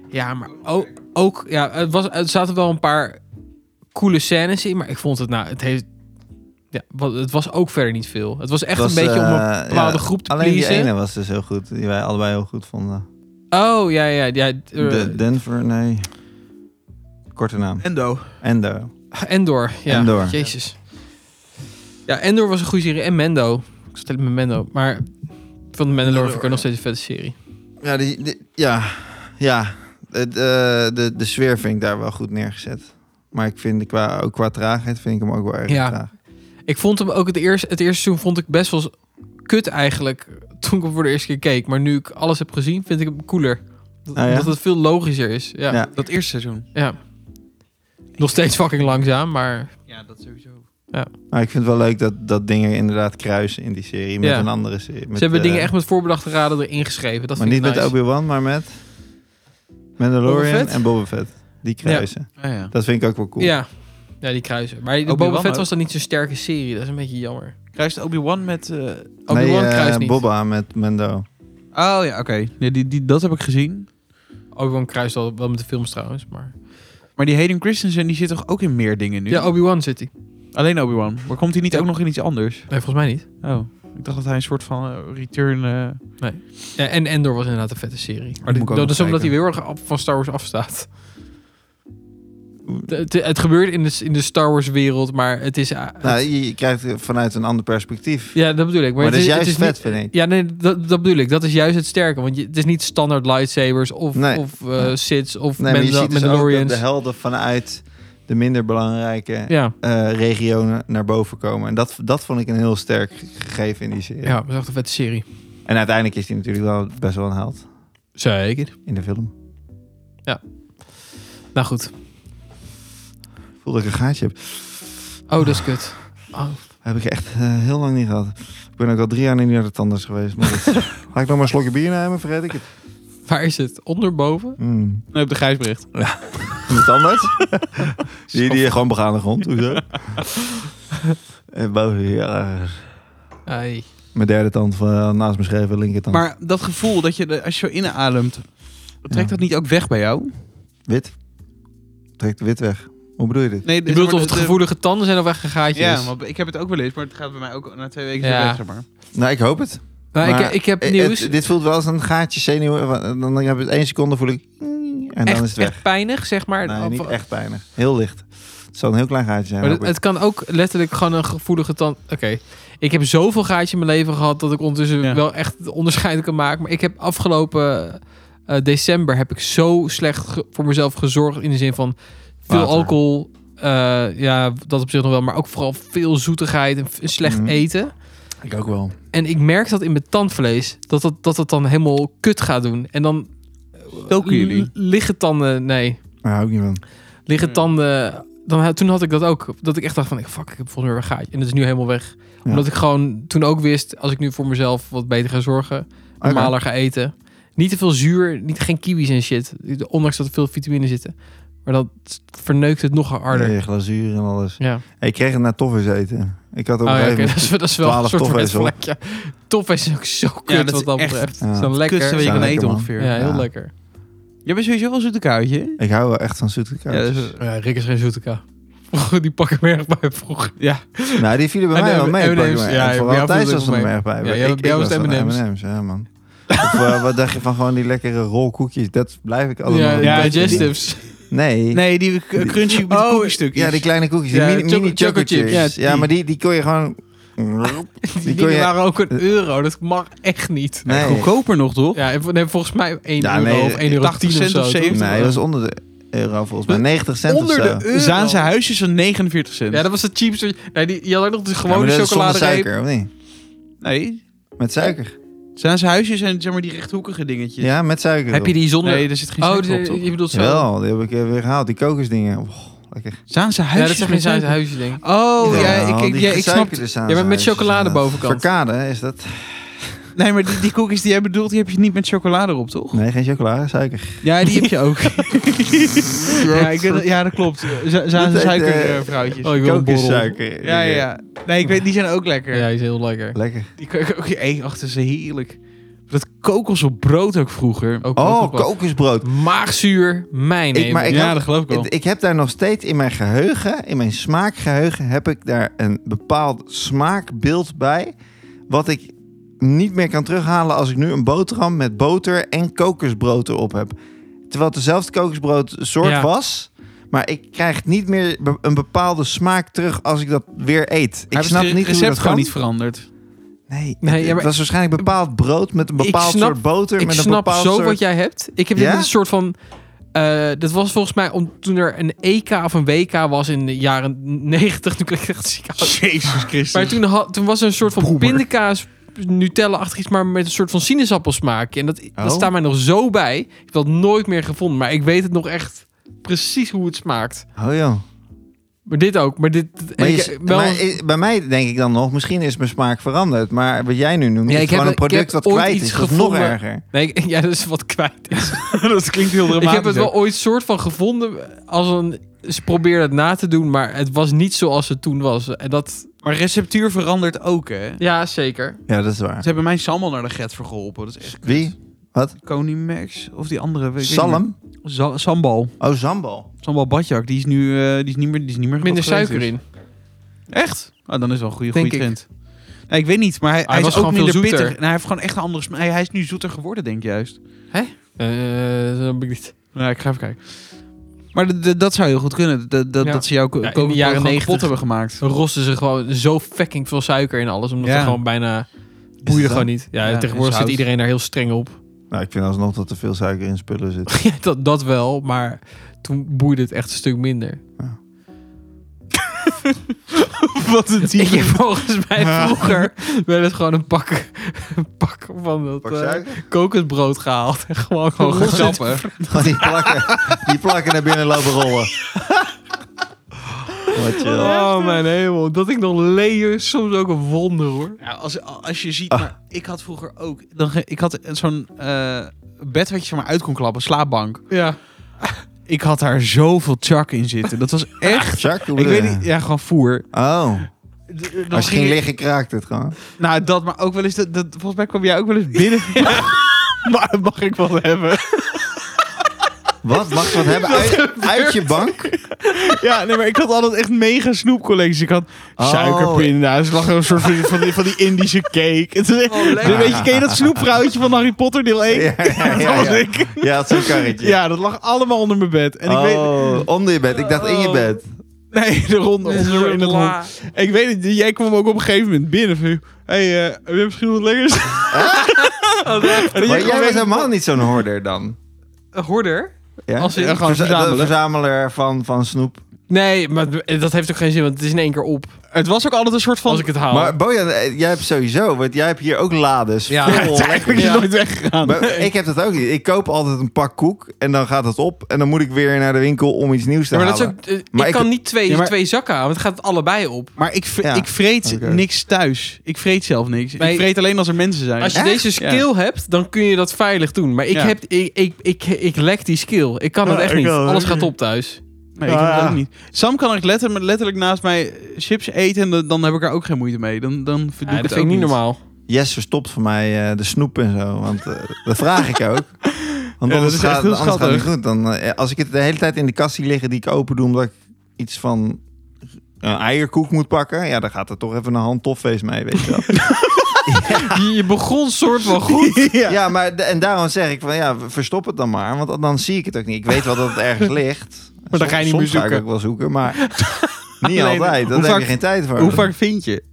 [SPEAKER 4] Ja, maar ook, ook ja, het, was, het zaten wel een paar coole scènes in. Maar ik vond het, nou, het heeft... Ja, wat- het was ook verder niet veel. Het was echt
[SPEAKER 3] Was,
[SPEAKER 4] een beetje om
[SPEAKER 3] eh,
[SPEAKER 4] een bepaalde
[SPEAKER 3] ja,
[SPEAKER 4] groep te
[SPEAKER 3] Alleen die
[SPEAKER 4] pleasen.
[SPEAKER 3] ene was dus heel goed, die wij allebei heel goed vonden.
[SPEAKER 4] Oh, ja, ja, ja. eh,
[SPEAKER 3] De Denver, nee. Korte naam.
[SPEAKER 2] Endo.
[SPEAKER 3] Endo.
[SPEAKER 4] Endor, ja.
[SPEAKER 3] Endor.
[SPEAKER 4] Jezus. Ja, Endor was een goede serie. En Mendo. Ik stel het met Mendo. Maar van de Mandalore vind ik ook nog steeds een vette serie.
[SPEAKER 3] Ja, die, die- ja, ja. Het, eh, de, de sfeer vind ik daar wel goed neergezet. Maar ik vind qua, ook qua traagheid vind ik hem ook wel erg
[SPEAKER 4] Ja.
[SPEAKER 3] traag.
[SPEAKER 4] Ik vond hem ook het eerste, het eerste seizoen vond ik best wel kut eigenlijk. (laughs) Toen ik hem voor de eerste keer keek. Maar nu ik alles heb gezien, vind ik hem cooler. Dat,
[SPEAKER 3] Ah, ja?
[SPEAKER 4] Omdat het veel logischer is. Ja. ja.
[SPEAKER 3] Ja.
[SPEAKER 2] Dat eerste seizoen.
[SPEAKER 4] Nog steeds fucking langzaam, maar...
[SPEAKER 2] Ja, dat sowieso.
[SPEAKER 3] Maar ik vind het wel leuk dat, dat dingen inderdaad kruisen in die serie met
[SPEAKER 4] Ja.
[SPEAKER 3] een andere serie. Met,
[SPEAKER 4] ze hebben
[SPEAKER 3] eh,
[SPEAKER 4] dingen echt met voorbedachte raden erin geschreven. Dat
[SPEAKER 3] Maar
[SPEAKER 4] vind
[SPEAKER 3] niet
[SPEAKER 4] ik nice.
[SPEAKER 3] met Obi-Wan, maar met Mandalorian
[SPEAKER 4] Boba Fett?
[SPEAKER 3] en Boba Fett. Die kruisen.
[SPEAKER 2] Ah, ja.
[SPEAKER 3] Dat vind ik ook wel cool.
[SPEAKER 4] Ja. ja, die kruisen. Maar de
[SPEAKER 2] Obi-Wan
[SPEAKER 4] Boba Fett
[SPEAKER 2] ook.
[SPEAKER 4] was dan niet zo'n sterke serie. Dat is een beetje jammer.
[SPEAKER 2] Kruist Obi-Wan met... eh,
[SPEAKER 4] Obi-Wan
[SPEAKER 3] nee, eh,
[SPEAKER 4] kruist niet.
[SPEAKER 3] Boba met Mendo.
[SPEAKER 2] Oh ja, oké. Nee, die, die, dat heb ik gezien.
[SPEAKER 4] Obi-Wan kruist al wel met de films trouwens, maar...
[SPEAKER 2] Maar die Hayden Christensen, die zit toch ook in meer dingen nu?
[SPEAKER 4] Ja, Obi-Wan zit hij.
[SPEAKER 2] Alleen Obi-Wan. Maar komt hij niet
[SPEAKER 4] Ja.
[SPEAKER 2] ook nog in iets anders?
[SPEAKER 4] Nee, volgens mij niet.
[SPEAKER 2] Oh. Ik dacht dat hij een soort van eh, return... eh,
[SPEAKER 4] Ja, en Endor was inderdaad een vette serie. Maar
[SPEAKER 2] moet
[SPEAKER 4] dit-
[SPEAKER 2] ik ook
[SPEAKER 4] dat
[SPEAKER 2] nog
[SPEAKER 4] is omdat hij
[SPEAKER 2] kijken.
[SPEAKER 4] heel erg af- van Star Wars afstaat. De- Het, het gebeurt in de, in de Star Wars wereld, maar het is... eh, het-
[SPEAKER 3] Nou, je, je krijgt het vanuit een ander perspectief.
[SPEAKER 4] ja, dat bedoel ik. Maar,
[SPEAKER 3] maar dat
[SPEAKER 4] het
[SPEAKER 3] is
[SPEAKER 4] het
[SPEAKER 3] juist vet,
[SPEAKER 4] niet-
[SPEAKER 3] vind ik.
[SPEAKER 4] Ja, nee, dat, dat bedoel ik. Dat is juist het sterke. Want je, het is niet standaard lightsabers of,
[SPEAKER 3] Nee.
[SPEAKER 4] of eh, Siths of
[SPEAKER 3] Nee, maar je
[SPEAKER 4] Mandal-
[SPEAKER 3] ziet dus ook dat
[SPEAKER 4] Mandalorians.
[SPEAKER 3] de helden vanuit de minder belangrijke
[SPEAKER 4] ja,
[SPEAKER 3] eh, regionen naar boven komen. En dat, dat vond ik een heel sterk gegeven in die serie.
[SPEAKER 4] ja, dat is echt een vette serie.
[SPEAKER 3] En uiteindelijk is die natuurlijk wel best wel een held
[SPEAKER 4] Zeker.
[SPEAKER 3] in de film.
[SPEAKER 4] Nou goed.
[SPEAKER 3] Voel dat ik een gaatje heb.
[SPEAKER 4] Oh, dat is kut. Oh.
[SPEAKER 3] Heb ik echt eh, heel lang niet gehad. Ik ben ook al drie jaar niet naar de tandarts geweest. Maar (laughs) dat- Ga ik nog maar een slokje bier nemen, vergeet ik het.
[SPEAKER 4] Waar is het? Onderboven?
[SPEAKER 3] Mm.
[SPEAKER 2] Nee, op de grijsbericht.
[SPEAKER 3] De (laughs) tandarts? die, die gewoon begaande grond, (laughs) hoezo? en boven, ja,
[SPEAKER 4] Ai.
[SPEAKER 3] mijn derde tand van, naast me schreven, linker tand.
[SPEAKER 2] Maar dat gevoel dat je, de- als je zo inademt, trekt
[SPEAKER 3] Ja.
[SPEAKER 2] dat niet ook weg bij jou?
[SPEAKER 3] Wit. Trekt wit weg. Hoe bedoel je dit?
[SPEAKER 2] Nee,
[SPEAKER 4] Je bedoelt of het gevoelige tanden zijn of echt een gaatje
[SPEAKER 2] Ja,
[SPEAKER 4] is?
[SPEAKER 2] want ik heb het ook wel eens, maar het gaat bij mij ook na twee weken
[SPEAKER 4] Ja.
[SPEAKER 2] weer weg, zeg maar.
[SPEAKER 3] Nou, ik hoop het.
[SPEAKER 4] Nou, ik,
[SPEAKER 3] Maar
[SPEAKER 4] ik heb
[SPEAKER 3] Eh,
[SPEAKER 4] nieuws.
[SPEAKER 3] het- dit voelt wel als een gaatje zenuw. Dan heb ik het één seconde voel ik... En dan
[SPEAKER 4] echt,
[SPEAKER 3] is het weg.
[SPEAKER 4] echt pijnig, zeg maar.
[SPEAKER 3] Nee,
[SPEAKER 4] Of-
[SPEAKER 3] niet echt weinig. Heel licht. Het zal een heel klein gaatje zijn.
[SPEAKER 4] Maar het,
[SPEAKER 3] hoop ik.
[SPEAKER 4] het kan ook letterlijk gewoon een gevoelige tand... Oké, ik heb zoveel gaatje in mijn leven gehad... dat ik ondertussen
[SPEAKER 2] Ja.
[SPEAKER 4] wel echt het onderscheid kan maken. Maar ik heb afgelopen eh, december... heb ik zo slecht ge- voor mezelf gezorgd... in de zin van veel
[SPEAKER 3] Water.
[SPEAKER 4] alcohol... eh, ja, dat op zich nog wel... maar ook vooral veel zoetigheid en f- en slecht
[SPEAKER 3] Mhm.
[SPEAKER 4] eten.
[SPEAKER 3] Ik ook wel.
[SPEAKER 4] En ik merk dat in mijn tandvlees... dat dat, dat, dat dan helemaal kut gaat doen. En dan... eh,
[SPEAKER 2] Stoken jullie?
[SPEAKER 4] Liggen tanden... Nee.
[SPEAKER 3] Daar hou ik niet van.
[SPEAKER 4] liggen
[SPEAKER 2] Ja.
[SPEAKER 4] tanden. Dan, ha- toen had ik dat ook. Dat ik echt dacht van, ik- fuck, ik heb volgens mij weer een gaatje. En dat is nu helemaal weg. Omdat ik gewoon toen ook wist, als ik nu voor mezelf wat beter ga zorgen.
[SPEAKER 3] Oké.
[SPEAKER 4] Normaler ga eten. Niet te veel zuur, niet, geen kiwis en shit. Ondanks dat er veel vitamine zitten. Maar dat verneukt het nog harder.
[SPEAKER 3] Nee, glazuur en alles.
[SPEAKER 4] Ja.
[SPEAKER 3] Ik kreeg het naar toffers eten. Ik had op
[SPEAKER 4] Oh,
[SPEAKER 3] een
[SPEAKER 4] ja oké,
[SPEAKER 3] gegeven
[SPEAKER 4] dat, is, dat is wel een
[SPEAKER 3] 12
[SPEAKER 4] soort van red
[SPEAKER 3] toffees, hoor.
[SPEAKER 4] vlek. Ja. Toffees is ook zo kut
[SPEAKER 2] dat is
[SPEAKER 4] wat dat
[SPEAKER 2] echt
[SPEAKER 4] betreft.
[SPEAKER 3] Ja.
[SPEAKER 4] Ja. Zo lekker.
[SPEAKER 2] Kutste wat je
[SPEAKER 3] Ja,
[SPEAKER 2] kan
[SPEAKER 3] lekker,
[SPEAKER 2] eten
[SPEAKER 3] man.
[SPEAKER 2] ongeveer.
[SPEAKER 4] ja, heel
[SPEAKER 3] Ja.
[SPEAKER 4] lekker.
[SPEAKER 2] Jij bent sowieso wel zoete kuitje.
[SPEAKER 3] moment- Ik hou wel echt van zoete
[SPEAKER 2] Ja, dat
[SPEAKER 3] kaartjes.
[SPEAKER 2] is-
[SPEAKER 4] Ja, Rick is geen zoete die pakken merg bij vroeger.
[SPEAKER 2] Ja.
[SPEAKER 3] Nou, die vielen bij
[SPEAKER 4] En
[SPEAKER 3] mij
[SPEAKER 4] de
[SPEAKER 3] wel mee.
[SPEAKER 4] M&M's,
[SPEAKER 3] Pak je maar.
[SPEAKER 4] ja,
[SPEAKER 3] En
[SPEAKER 4] bij
[SPEAKER 3] Vooral
[SPEAKER 4] jou
[SPEAKER 3] Thijs
[SPEAKER 4] viel
[SPEAKER 3] was
[SPEAKER 4] het
[SPEAKER 3] er
[SPEAKER 4] wel
[SPEAKER 3] erg bij.
[SPEAKER 4] Ja,
[SPEAKER 3] Ik-
[SPEAKER 4] jij-
[SPEAKER 3] ik
[SPEAKER 4] jij was
[SPEAKER 3] er
[SPEAKER 4] de
[SPEAKER 3] een
[SPEAKER 4] M&M's.
[SPEAKER 3] M&M's, ja man. Of eh, wat dacht je van gewoon die lekkere rolkoekjes? Dat blijf ik allemaal.
[SPEAKER 4] Ja,
[SPEAKER 2] ja,
[SPEAKER 4] digestives.
[SPEAKER 3] Nee.
[SPEAKER 2] Nee, die k- crunchy met
[SPEAKER 4] Oh,
[SPEAKER 2] die cookiestukjes.
[SPEAKER 3] Ja, die kleine koekjes. Die
[SPEAKER 4] Ja,
[SPEAKER 3] mini,
[SPEAKER 4] choco-
[SPEAKER 3] mini
[SPEAKER 4] choco
[SPEAKER 3] choco
[SPEAKER 4] chips.
[SPEAKER 3] chips.
[SPEAKER 2] Ja,
[SPEAKER 3] Ja, maar die, die kon je gewoon...
[SPEAKER 4] Die
[SPEAKER 3] Die kon
[SPEAKER 4] dingen
[SPEAKER 3] je... Eh.
[SPEAKER 4] waren ook een euro. Dat mag echt niet.
[SPEAKER 3] Nee.
[SPEAKER 2] Goedkoper nog, toch?
[SPEAKER 4] Ja, en vo- nee, volgens mij 1
[SPEAKER 3] Ja,
[SPEAKER 4] euro
[SPEAKER 3] nee,
[SPEAKER 4] of 1 euro
[SPEAKER 2] 80
[SPEAKER 4] 10 of
[SPEAKER 2] cent of
[SPEAKER 4] zo. toch?
[SPEAKER 2] 70.
[SPEAKER 3] Nee, dat was onder de euro volgens mij. 90 cent
[SPEAKER 4] Onder
[SPEAKER 3] of zo.
[SPEAKER 4] de euro.
[SPEAKER 2] Zaanse huisjes van 49 cent.
[SPEAKER 4] Ja, dat was het cheapste. Nee, die, je had ook nog de
[SPEAKER 3] Ja, maar
[SPEAKER 4] gewone
[SPEAKER 3] dat is zonder
[SPEAKER 4] chocoladereep.
[SPEAKER 3] suiker, of niet?
[SPEAKER 2] Nee,
[SPEAKER 3] Met suiker.
[SPEAKER 2] Zaanse huisjes zijn zeg maar die rechthoekige dingetjes.
[SPEAKER 3] Ja, met suiker.
[SPEAKER 4] Heb je die zonder...
[SPEAKER 2] Nee, daar zit geen
[SPEAKER 4] oh,
[SPEAKER 2] suiker op,
[SPEAKER 4] die-
[SPEAKER 2] toch?
[SPEAKER 4] je bedoelt zo.
[SPEAKER 3] Wel, die heb ik eh, weer gehaald. Die kokosdingen. Oh, lekker.
[SPEAKER 2] Zaanse
[SPEAKER 4] Ja,
[SPEAKER 2] huisjes
[SPEAKER 4] dat zijn
[SPEAKER 2] met
[SPEAKER 4] geen Zuid
[SPEAKER 2] suiker.
[SPEAKER 4] huisje, denk ik.
[SPEAKER 2] Oh, ja,
[SPEAKER 3] Wel,
[SPEAKER 2] ik, ik,
[SPEAKER 3] die
[SPEAKER 2] ja, ik snap...
[SPEAKER 3] gesuikerde
[SPEAKER 4] Ja, maar met
[SPEAKER 3] zaanhuisjes
[SPEAKER 4] chocolade
[SPEAKER 3] inderdaad.
[SPEAKER 4] bovenkant.
[SPEAKER 3] Verkade, hè, is dat?
[SPEAKER 2] Nee, maar die, die cookies die jij bedoelt, die heb je niet met chocolade op, toch?
[SPEAKER 3] Nee, geen chocolade, suiker.
[SPEAKER 2] Ja, die heb je
[SPEAKER 3] (laughs)
[SPEAKER 2] ook. ja, ik weet, ja, dat klopt. Z- Zaanse
[SPEAKER 3] heet, eh,
[SPEAKER 2] suikervrouwtjes.
[SPEAKER 4] Oh, ik wil een borrel.
[SPEAKER 3] Kokossuiker.
[SPEAKER 2] ja, ja, ja. Nee, ik weet, die zijn ook lekker.
[SPEAKER 4] Ja, die is heel lekker.
[SPEAKER 3] Lekker.
[SPEAKER 2] Die kan ik ook... Hey, achter ze heerlijk. Dat kokos op brood ook vroeger.
[SPEAKER 4] Ook
[SPEAKER 3] Oh,
[SPEAKER 4] ook wel.
[SPEAKER 3] kokosbrood.
[SPEAKER 4] Maagzuur, mijn
[SPEAKER 3] Ik- maar ik-
[SPEAKER 2] ja,
[SPEAKER 3] had-
[SPEAKER 2] dat geloof ik wel.
[SPEAKER 3] Het- Ik heb daar nog steeds in mijn geheugen, in mijn smaakgeheugen, heb ik daar een bepaald smaakbeeld bij. Wat ik niet meer kan terughalen als ik nu een boterham met boter en kokosbrood erop heb. Terwijl het dezelfde kokosbrood soort
[SPEAKER 4] Ja.
[SPEAKER 3] was. Maar ik krijg niet meer be- een bepaalde smaak terug als ik dat weer eet. Ik
[SPEAKER 2] Hebben ze
[SPEAKER 3] snap
[SPEAKER 2] het
[SPEAKER 3] niet hoe
[SPEAKER 2] recept
[SPEAKER 3] dat
[SPEAKER 2] gewoon
[SPEAKER 3] kan.
[SPEAKER 2] niet veranderd.
[SPEAKER 3] Nee,
[SPEAKER 4] Nee,
[SPEAKER 3] nee
[SPEAKER 4] ja,
[SPEAKER 3] het
[SPEAKER 4] maar-
[SPEAKER 3] was waarschijnlijk bepaald brood met een
[SPEAKER 4] Ik
[SPEAKER 3] bepaald
[SPEAKER 4] snap-
[SPEAKER 3] soort boter.
[SPEAKER 4] Ik
[SPEAKER 3] met een
[SPEAKER 4] snap
[SPEAKER 3] bepaald
[SPEAKER 4] zo
[SPEAKER 3] soort...
[SPEAKER 4] wat jij hebt. Ik heb dit
[SPEAKER 3] Ja?
[SPEAKER 4] met een soort van... eh, dat was volgens mij om, toen er een EK of een WK was in de jaren 90. Toen kreeg ik echt ziek oud.
[SPEAKER 2] Jezus Christus.
[SPEAKER 4] Maar toen, had, toen was er een soort van pindakaas, Nutella-achtig iets, maar met een soort van sinaasappelsmaak. En dat,
[SPEAKER 3] Oh.
[SPEAKER 4] dat staat mij nog zo bij. Ik heb dat nooit meer gevonden, maar ik weet het nog echt precies hoe het smaakt.
[SPEAKER 3] Oh joh.
[SPEAKER 4] Maar dit ook. Maar dit...
[SPEAKER 3] Maar
[SPEAKER 4] ik-
[SPEAKER 3] je-
[SPEAKER 4] wel,
[SPEAKER 3] maar i- bij mij denk ik dan nog, misschien is mijn smaak veranderd. Maar wat jij nu noemt,
[SPEAKER 4] Ja,
[SPEAKER 3] is
[SPEAKER 4] ik heb-
[SPEAKER 3] gewoon een
[SPEAKER 4] ik heb
[SPEAKER 3] product wat
[SPEAKER 4] ooit
[SPEAKER 3] kwijt
[SPEAKER 4] iets
[SPEAKER 3] is. Dat is nog
[SPEAKER 4] gevonden.
[SPEAKER 3] erger.
[SPEAKER 4] nee, (laughs) ik- ja, dat is wat kwijt is.
[SPEAKER 2] (laughs) dat klinkt heel dramatisch.
[SPEAKER 4] Ik heb het wel ooit soort van gevonden als een... Ze probeerden het na te doen, maar het was niet zoals het toen was. En dat...
[SPEAKER 2] Maar receptuur verandert ook, hè?
[SPEAKER 4] Ja, zeker.
[SPEAKER 3] Ja, dat is
[SPEAKER 2] Ze
[SPEAKER 3] waar.
[SPEAKER 2] hebben mijn salmon naar de get voor geholpen. Dat is echt
[SPEAKER 3] Wie? Wat?
[SPEAKER 2] Koning Max of die andere. weet ik niet
[SPEAKER 3] Salm?
[SPEAKER 2] meer. Za- sambal.
[SPEAKER 3] Oh, sambal.
[SPEAKER 2] Sambal badjak. Die is nu eh, die is niet meer. Die is niet meer
[SPEAKER 4] Minder
[SPEAKER 2] wat geweest
[SPEAKER 4] suiker
[SPEAKER 2] is.
[SPEAKER 4] in.
[SPEAKER 2] Echt? Nou, dan is wel een goede,
[SPEAKER 4] Denk
[SPEAKER 2] goede trend. Nee, ik weet niet, maar hij, hij,
[SPEAKER 4] was
[SPEAKER 2] is ook
[SPEAKER 4] gewoon veel
[SPEAKER 2] minder
[SPEAKER 4] zoeter.
[SPEAKER 2] pittig. Nou, hij heeft gewoon echt een andere smaak. Hij, hij is nu zoeter geworden, denk ik juist.
[SPEAKER 4] Eh, dat heb ik niet.
[SPEAKER 2] Nou, ik ga even kijken. Maar d- d- dat zou heel goed kunnen. D- d-
[SPEAKER 4] Ja.
[SPEAKER 2] Dat ze jouw ko-
[SPEAKER 4] Ja, in de
[SPEAKER 2] koken
[SPEAKER 4] jaren
[SPEAKER 2] jaren
[SPEAKER 4] 90.
[SPEAKER 2] kapot hebben gemaakt.
[SPEAKER 4] rosten ze gewoon zo fucking veel suiker in alles. Omdat
[SPEAKER 2] Ja.
[SPEAKER 4] er gewoon bijna...
[SPEAKER 3] het
[SPEAKER 4] Boeien
[SPEAKER 3] dan?
[SPEAKER 4] gewoon niet. Ja,
[SPEAKER 2] Ja, is
[SPEAKER 4] tegenwoordig zit
[SPEAKER 2] zout.
[SPEAKER 4] iedereen daar heel streng op. (laughs)
[SPEAKER 3] Nou, ik vind alsnog dat er veel suiker in
[SPEAKER 2] (laughs)
[SPEAKER 3] spullen zit.
[SPEAKER 4] Ja, dat, dat wel, maar toen boeide het echt een stuk minder.
[SPEAKER 2] Wat een
[SPEAKER 4] Ik heb volgens mij vroeger wel eens gewoon een pak, een pak van dat
[SPEAKER 3] Pak
[SPEAKER 4] eh,
[SPEAKER 3] suiker? (laughs)
[SPEAKER 4] kokend brood gehaald. (laughs) En gewoon
[SPEAKER 2] Gewoon
[SPEAKER 4] gewoon gezapt.
[SPEAKER 2] gezappen.
[SPEAKER 3] Gewoon Oh, die plakken, die plakken naar binnen lopen
[SPEAKER 2] (laughs)
[SPEAKER 3] rollen. Wat chill.
[SPEAKER 4] Oh mijn hemel, dat ik nog leer is soms ook een wonder hoor.
[SPEAKER 2] Ja, als, als je ziet, maar ik had vroeger ook. Dan, ge- ik had zo'n eh, bed wat je zeg maar uit kon klappen, slaapbank.
[SPEAKER 4] Ja,
[SPEAKER 2] Ik had daar zoveel chak in zitten. Dat was
[SPEAKER 3] (laughs)
[SPEAKER 2] echt.
[SPEAKER 3] Chuck, hoe
[SPEAKER 2] ik
[SPEAKER 3] bedoel
[SPEAKER 2] weet
[SPEAKER 3] je?
[SPEAKER 2] niet, ja, gewoon voer.
[SPEAKER 3] Oh,
[SPEAKER 2] D- dan
[SPEAKER 3] als je
[SPEAKER 2] ging
[SPEAKER 3] ging
[SPEAKER 2] ik-
[SPEAKER 3] liggen, kraakt het gewoon.
[SPEAKER 2] Nou, dat, maar ook wel eens. Dat, dat, volgens mij kwam jij ook wel eens (laughs) binnen. maar dat mag ik wel hebben.
[SPEAKER 3] Wat?
[SPEAKER 2] (laughs)
[SPEAKER 3] Mag ik wat hebben? Uit, uit je bank?
[SPEAKER 2] Ja, nee, maar ik had altijd echt mega snoepcollecties. Ik had
[SPEAKER 3] Oh.
[SPEAKER 2] suikerpinda's. Er lag een soort van, van, die, van die Indische (laughs) cake. Het is echt- weet je, ken je dat snoepvrouwtje van Harry Potter deel 1?
[SPEAKER 3] Ja, ja,
[SPEAKER 2] (laughs) Dat
[SPEAKER 3] ja,
[SPEAKER 2] was
[SPEAKER 3] ja.
[SPEAKER 2] ik.
[SPEAKER 3] ja het is een karretje.
[SPEAKER 2] Ja, dat lag allemaal onder mijn bed. En ik weet... Oh.
[SPEAKER 3] oh, onder je bed. Ik dacht in je bed.
[SPEAKER 2] Nee, de ronde onder in het hond. Ik weet het, jij kwam ook op een gegeven moment binnen. Van, hey, eh heb je misschien wat lekkers? En dat
[SPEAKER 3] Maar
[SPEAKER 2] je
[SPEAKER 3] jij was
[SPEAKER 2] gewoon weg-
[SPEAKER 3] helemaal niet zo'n hoorder dan.
[SPEAKER 4] Hoorder?
[SPEAKER 3] Ja?
[SPEAKER 4] Als in-
[SPEAKER 3] Verza-
[SPEAKER 2] gewoon verzamelen.
[SPEAKER 3] de verzameler van, van snoep.
[SPEAKER 4] Nee, maar dat heeft ook geen zin, want het is in één keer op
[SPEAKER 2] Het was ook altijd een soort van...
[SPEAKER 4] als ik het haal.
[SPEAKER 3] Maar Bojan, eh, jij hebt sowieso, want jij hebt hier ook lades.
[SPEAKER 2] (laughs)
[SPEAKER 4] Ja.
[SPEAKER 3] vol
[SPEAKER 4] Ja, het
[SPEAKER 3] lekker.
[SPEAKER 2] Ik ben
[SPEAKER 4] Ja.
[SPEAKER 2] nooit weggegaan.
[SPEAKER 3] Maar ik heb dat ook niet. Ik koop altijd een pak koek en dan gaat dat op. En dan moet ik weer naar de winkel om iets nieuws te
[SPEAKER 4] Ja, maar dat is
[SPEAKER 3] halen.
[SPEAKER 4] ook, eh,
[SPEAKER 3] Maar
[SPEAKER 4] ik
[SPEAKER 3] ik-
[SPEAKER 4] kan niet twee,
[SPEAKER 2] Ja, maar-
[SPEAKER 4] twee zakken halen, want het gaat allebei op.
[SPEAKER 2] Maar ik, vre-
[SPEAKER 3] Ja.
[SPEAKER 2] ik vreet
[SPEAKER 3] Oké.
[SPEAKER 2] niks thuis. Ik vreet zelf niks.
[SPEAKER 4] Nee.
[SPEAKER 2] Ik vreet alleen als er mensen zijn.
[SPEAKER 4] Als je
[SPEAKER 3] Echt?
[SPEAKER 4] deze skill hebt, dan kun je dat veilig doen. Maar ik,
[SPEAKER 2] Ja.
[SPEAKER 4] heb, ik, ik, ik, ik lek die skill. Ik kan het
[SPEAKER 3] Ja,
[SPEAKER 4] echt
[SPEAKER 3] ik
[SPEAKER 4] niet.
[SPEAKER 3] wel.
[SPEAKER 4] Alles gaat op thuis.
[SPEAKER 2] Nee, ik heb het
[SPEAKER 3] Ah.
[SPEAKER 2] ook niet. Sam kan echt letterlijk, letterlijk naast mij chips eten en dan- dan heb ik er ook geen moeite mee. Dan, dan verdoe
[SPEAKER 4] Ja,
[SPEAKER 2] ik
[SPEAKER 4] dat
[SPEAKER 2] het
[SPEAKER 4] vind
[SPEAKER 2] ook
[SPEAKER 4] ik niet
[SPEAKER 2] niet.
[SPEAKER 4] normaal.
[SPEAKER 3] Jess verstopt voor mij eh, de snoep en zo. Want eh, dat vraag
[SPEAKER 2] (laughs)
[SPEAKER 3] ik ook. Want
[SPEAKER 2] Ja, dat
[SPEAKER 3] anders,
[SPEAKER 2] is echt
[SPEAKER 3] gaat,
[SPEAKER 2] heel
[SPEAKER 3] anders gaat het niet
[SPEAKER 2] schattig.
[SPEAKER 3] goed. Dan, eh, als ik het de hele tijd in de kast zie liggen die ik open doe omdat ik iets van een eierkoek moet pakken, ja, dan gaat er toch even een handtoffeest mee, weet je wel.
[SPEAKER 4] Je, je begon soort
[SPEAKER 2] (laughs)
[SPEAKER 4] van goed.
[SPEAKER 3] ja. maar de- en daarom zeg ik van ja, verstop het dan maar, want dan- dan zie ik het ook niet. Ik weet wel dat het
[SPEAKER 4] (laughs)
[SPEAKER 3] ergens ligt.
[SPEAKER 4] Maar dan ga je niet
[SPEAKER 3] Soms
[SPEAKER 4] meer
[SPEAKER 3] Ga ik
[SPEAKER 4] zoeken.
[SPEAKER 3] ook wel zoeken,
[SPEAKER 4] (laughs)
[SPEAKER 3] maar niet
[SPEAKER 2] Alleen,
[SPEAKER 3] altijd. Daar
[SPEAKER 2] hoe
[SPEAKER 3] heb
[SPEAKER 2] vaak-
[SPEAKER 3] je geen tijd voor.
[SPEAKER 2] Hoe vaak vind je?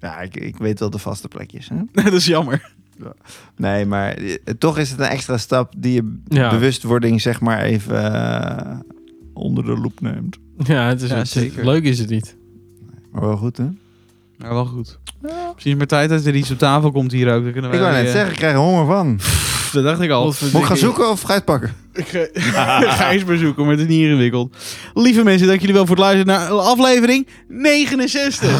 [SPEAKER 3] Ja, ik, ik weet wel de vaste plekjes. Hè?
[SPEAKER 2] dat is jammer.
[SPEAKER 3] Nee, maar eh, toch is het een extra stap die je
[SPEAKER 4] Ja.
[SPEAKER 3] bewustwording zeg maar even eh, onder de loep neemt.
[SPEAKER 4] Ja, het is
[SPEAKER 2] Ja,
[SPEAKER 4] het-
[SPEAKER 2] zeker.
[SPEAKER 4] leuk is het niet.
[SPEAKER 3] Maar wel goed, hè?
[SPEAKER 2] Maar wel goed. Misschien is maar tijd dat er iets op tafel komt hier ook. Dan kunnen wij
[SPEAKER 3] Ik wou net
[SPEAKER 2] eh,
[SPEAKER 3] zeggen, ik krijg er honger van.
[SPEAKER 2] pff, dat dacht ik al.
[SPEAKER 4] Godverdikke.
[SPEAKER 3] Moet ik gaan zoeken of fruit pakken?
[SPEAKER 2] (laughs) Ik
[SPEAKER 4] (laughs)
[SPEAKER 2] ga- ga eens maar zoeken, maar het is niet ingewikkeld. Lieve mensen, dank jullie wel voor het luisteren naar aflevering 69.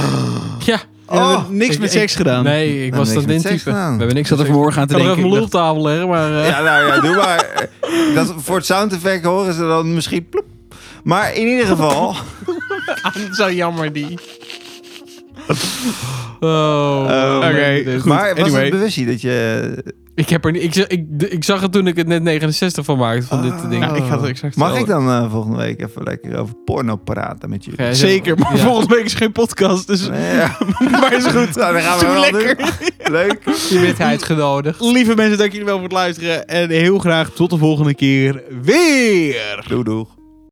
[SPEAKER 4] Ja.
[SPEAKER 2] En we
[SPEAKER 3] Oh.
[SPEAKER 2] hebben niks
[SPEAKER 4] Oh. Ik-
[SPEAKER 2] met
[SPEAKER 4] ik-
[SPEAKER 2] seks gedaan.
[SPEAKER 4] Nee,
[SPEAKER 3] Nou,
[SPEAKER 4] ik was
[SPEAKER 3] niks
[SPEAKER 4] dat
[SPEAKER 3] met
[SPEAKER 4] in
[SPEAKER 3] seks
[SPEAKER 4] type. We
[SPEAKER 3] gedaan.
[SPEAKER 4] hebben niks
[SPEAKER 2] Ik zat er vanmorgen aan
[SPEAKER 4] Ik
[SPEAKER 2] te
[SPEAKER 4] had er even
[SPEAKER 2] denken.
[SPEAKER 4] mijn
[SPEAKER 2] Ik
[SPEAKER 4] lul op tafel leggen, maar... eh,
[SPEAKER 3] Ja, nou ja, doe maar. Dat, voor het sound effect horen ze dan misschien ploep. Maar in ieder geval,
[SPEAKER 4] (laughs) Zo jammer die. Oh,
[SPEAKER 3] Ehm,
[SPEAKER 4] leuk
[SPEAKER 2] oké,
[SPEAKER 4] dit.
[SPEAKER 2] goed.
[SPEAKER 3] maar was
[SPEAKER 2] anyway.
[SPEAKER 3] het bewustzijn dat je...
[SPEAKER 4] Ik, heb er, niet- ik, z- ik, d- ik zag het toen ik het net 69 van maakte van dit ding.
[SPEAKER 2] Ja, ik had er exact
[SPEAKER 3] Ah. Mag ik
[SPEAKER 2] hetzelfde.
[SPEAKER 3] dan eh, volgende week even lekker over porno praten met jullie?
[SPEAKER 4] Gijs,
[SPEAKER 2] Zeker, maar
[SPEAKER 4] ja.
[SPEAKER 2] volgende week is geen podcast, dus
[SPEAKER 3] Nee, ja.
[SPEAKER 2] (laughs) maar is goed.
[SPEAKER 3] Nou, dan gaan we
[SPEAKER 2] Doe
[SPEAKER 3] wel
[SPEAKER 2] lekker.
[SPEAKER 3] doen. Leuk.
[SPEAKER 4] Je bent uitgenodigd.
[SPEAKER 2] Lieve mensen, dank jullie wel voor het luisteren en heel graag tot de volgende keer weer.
[SPEAKER 3] Doei, doeg.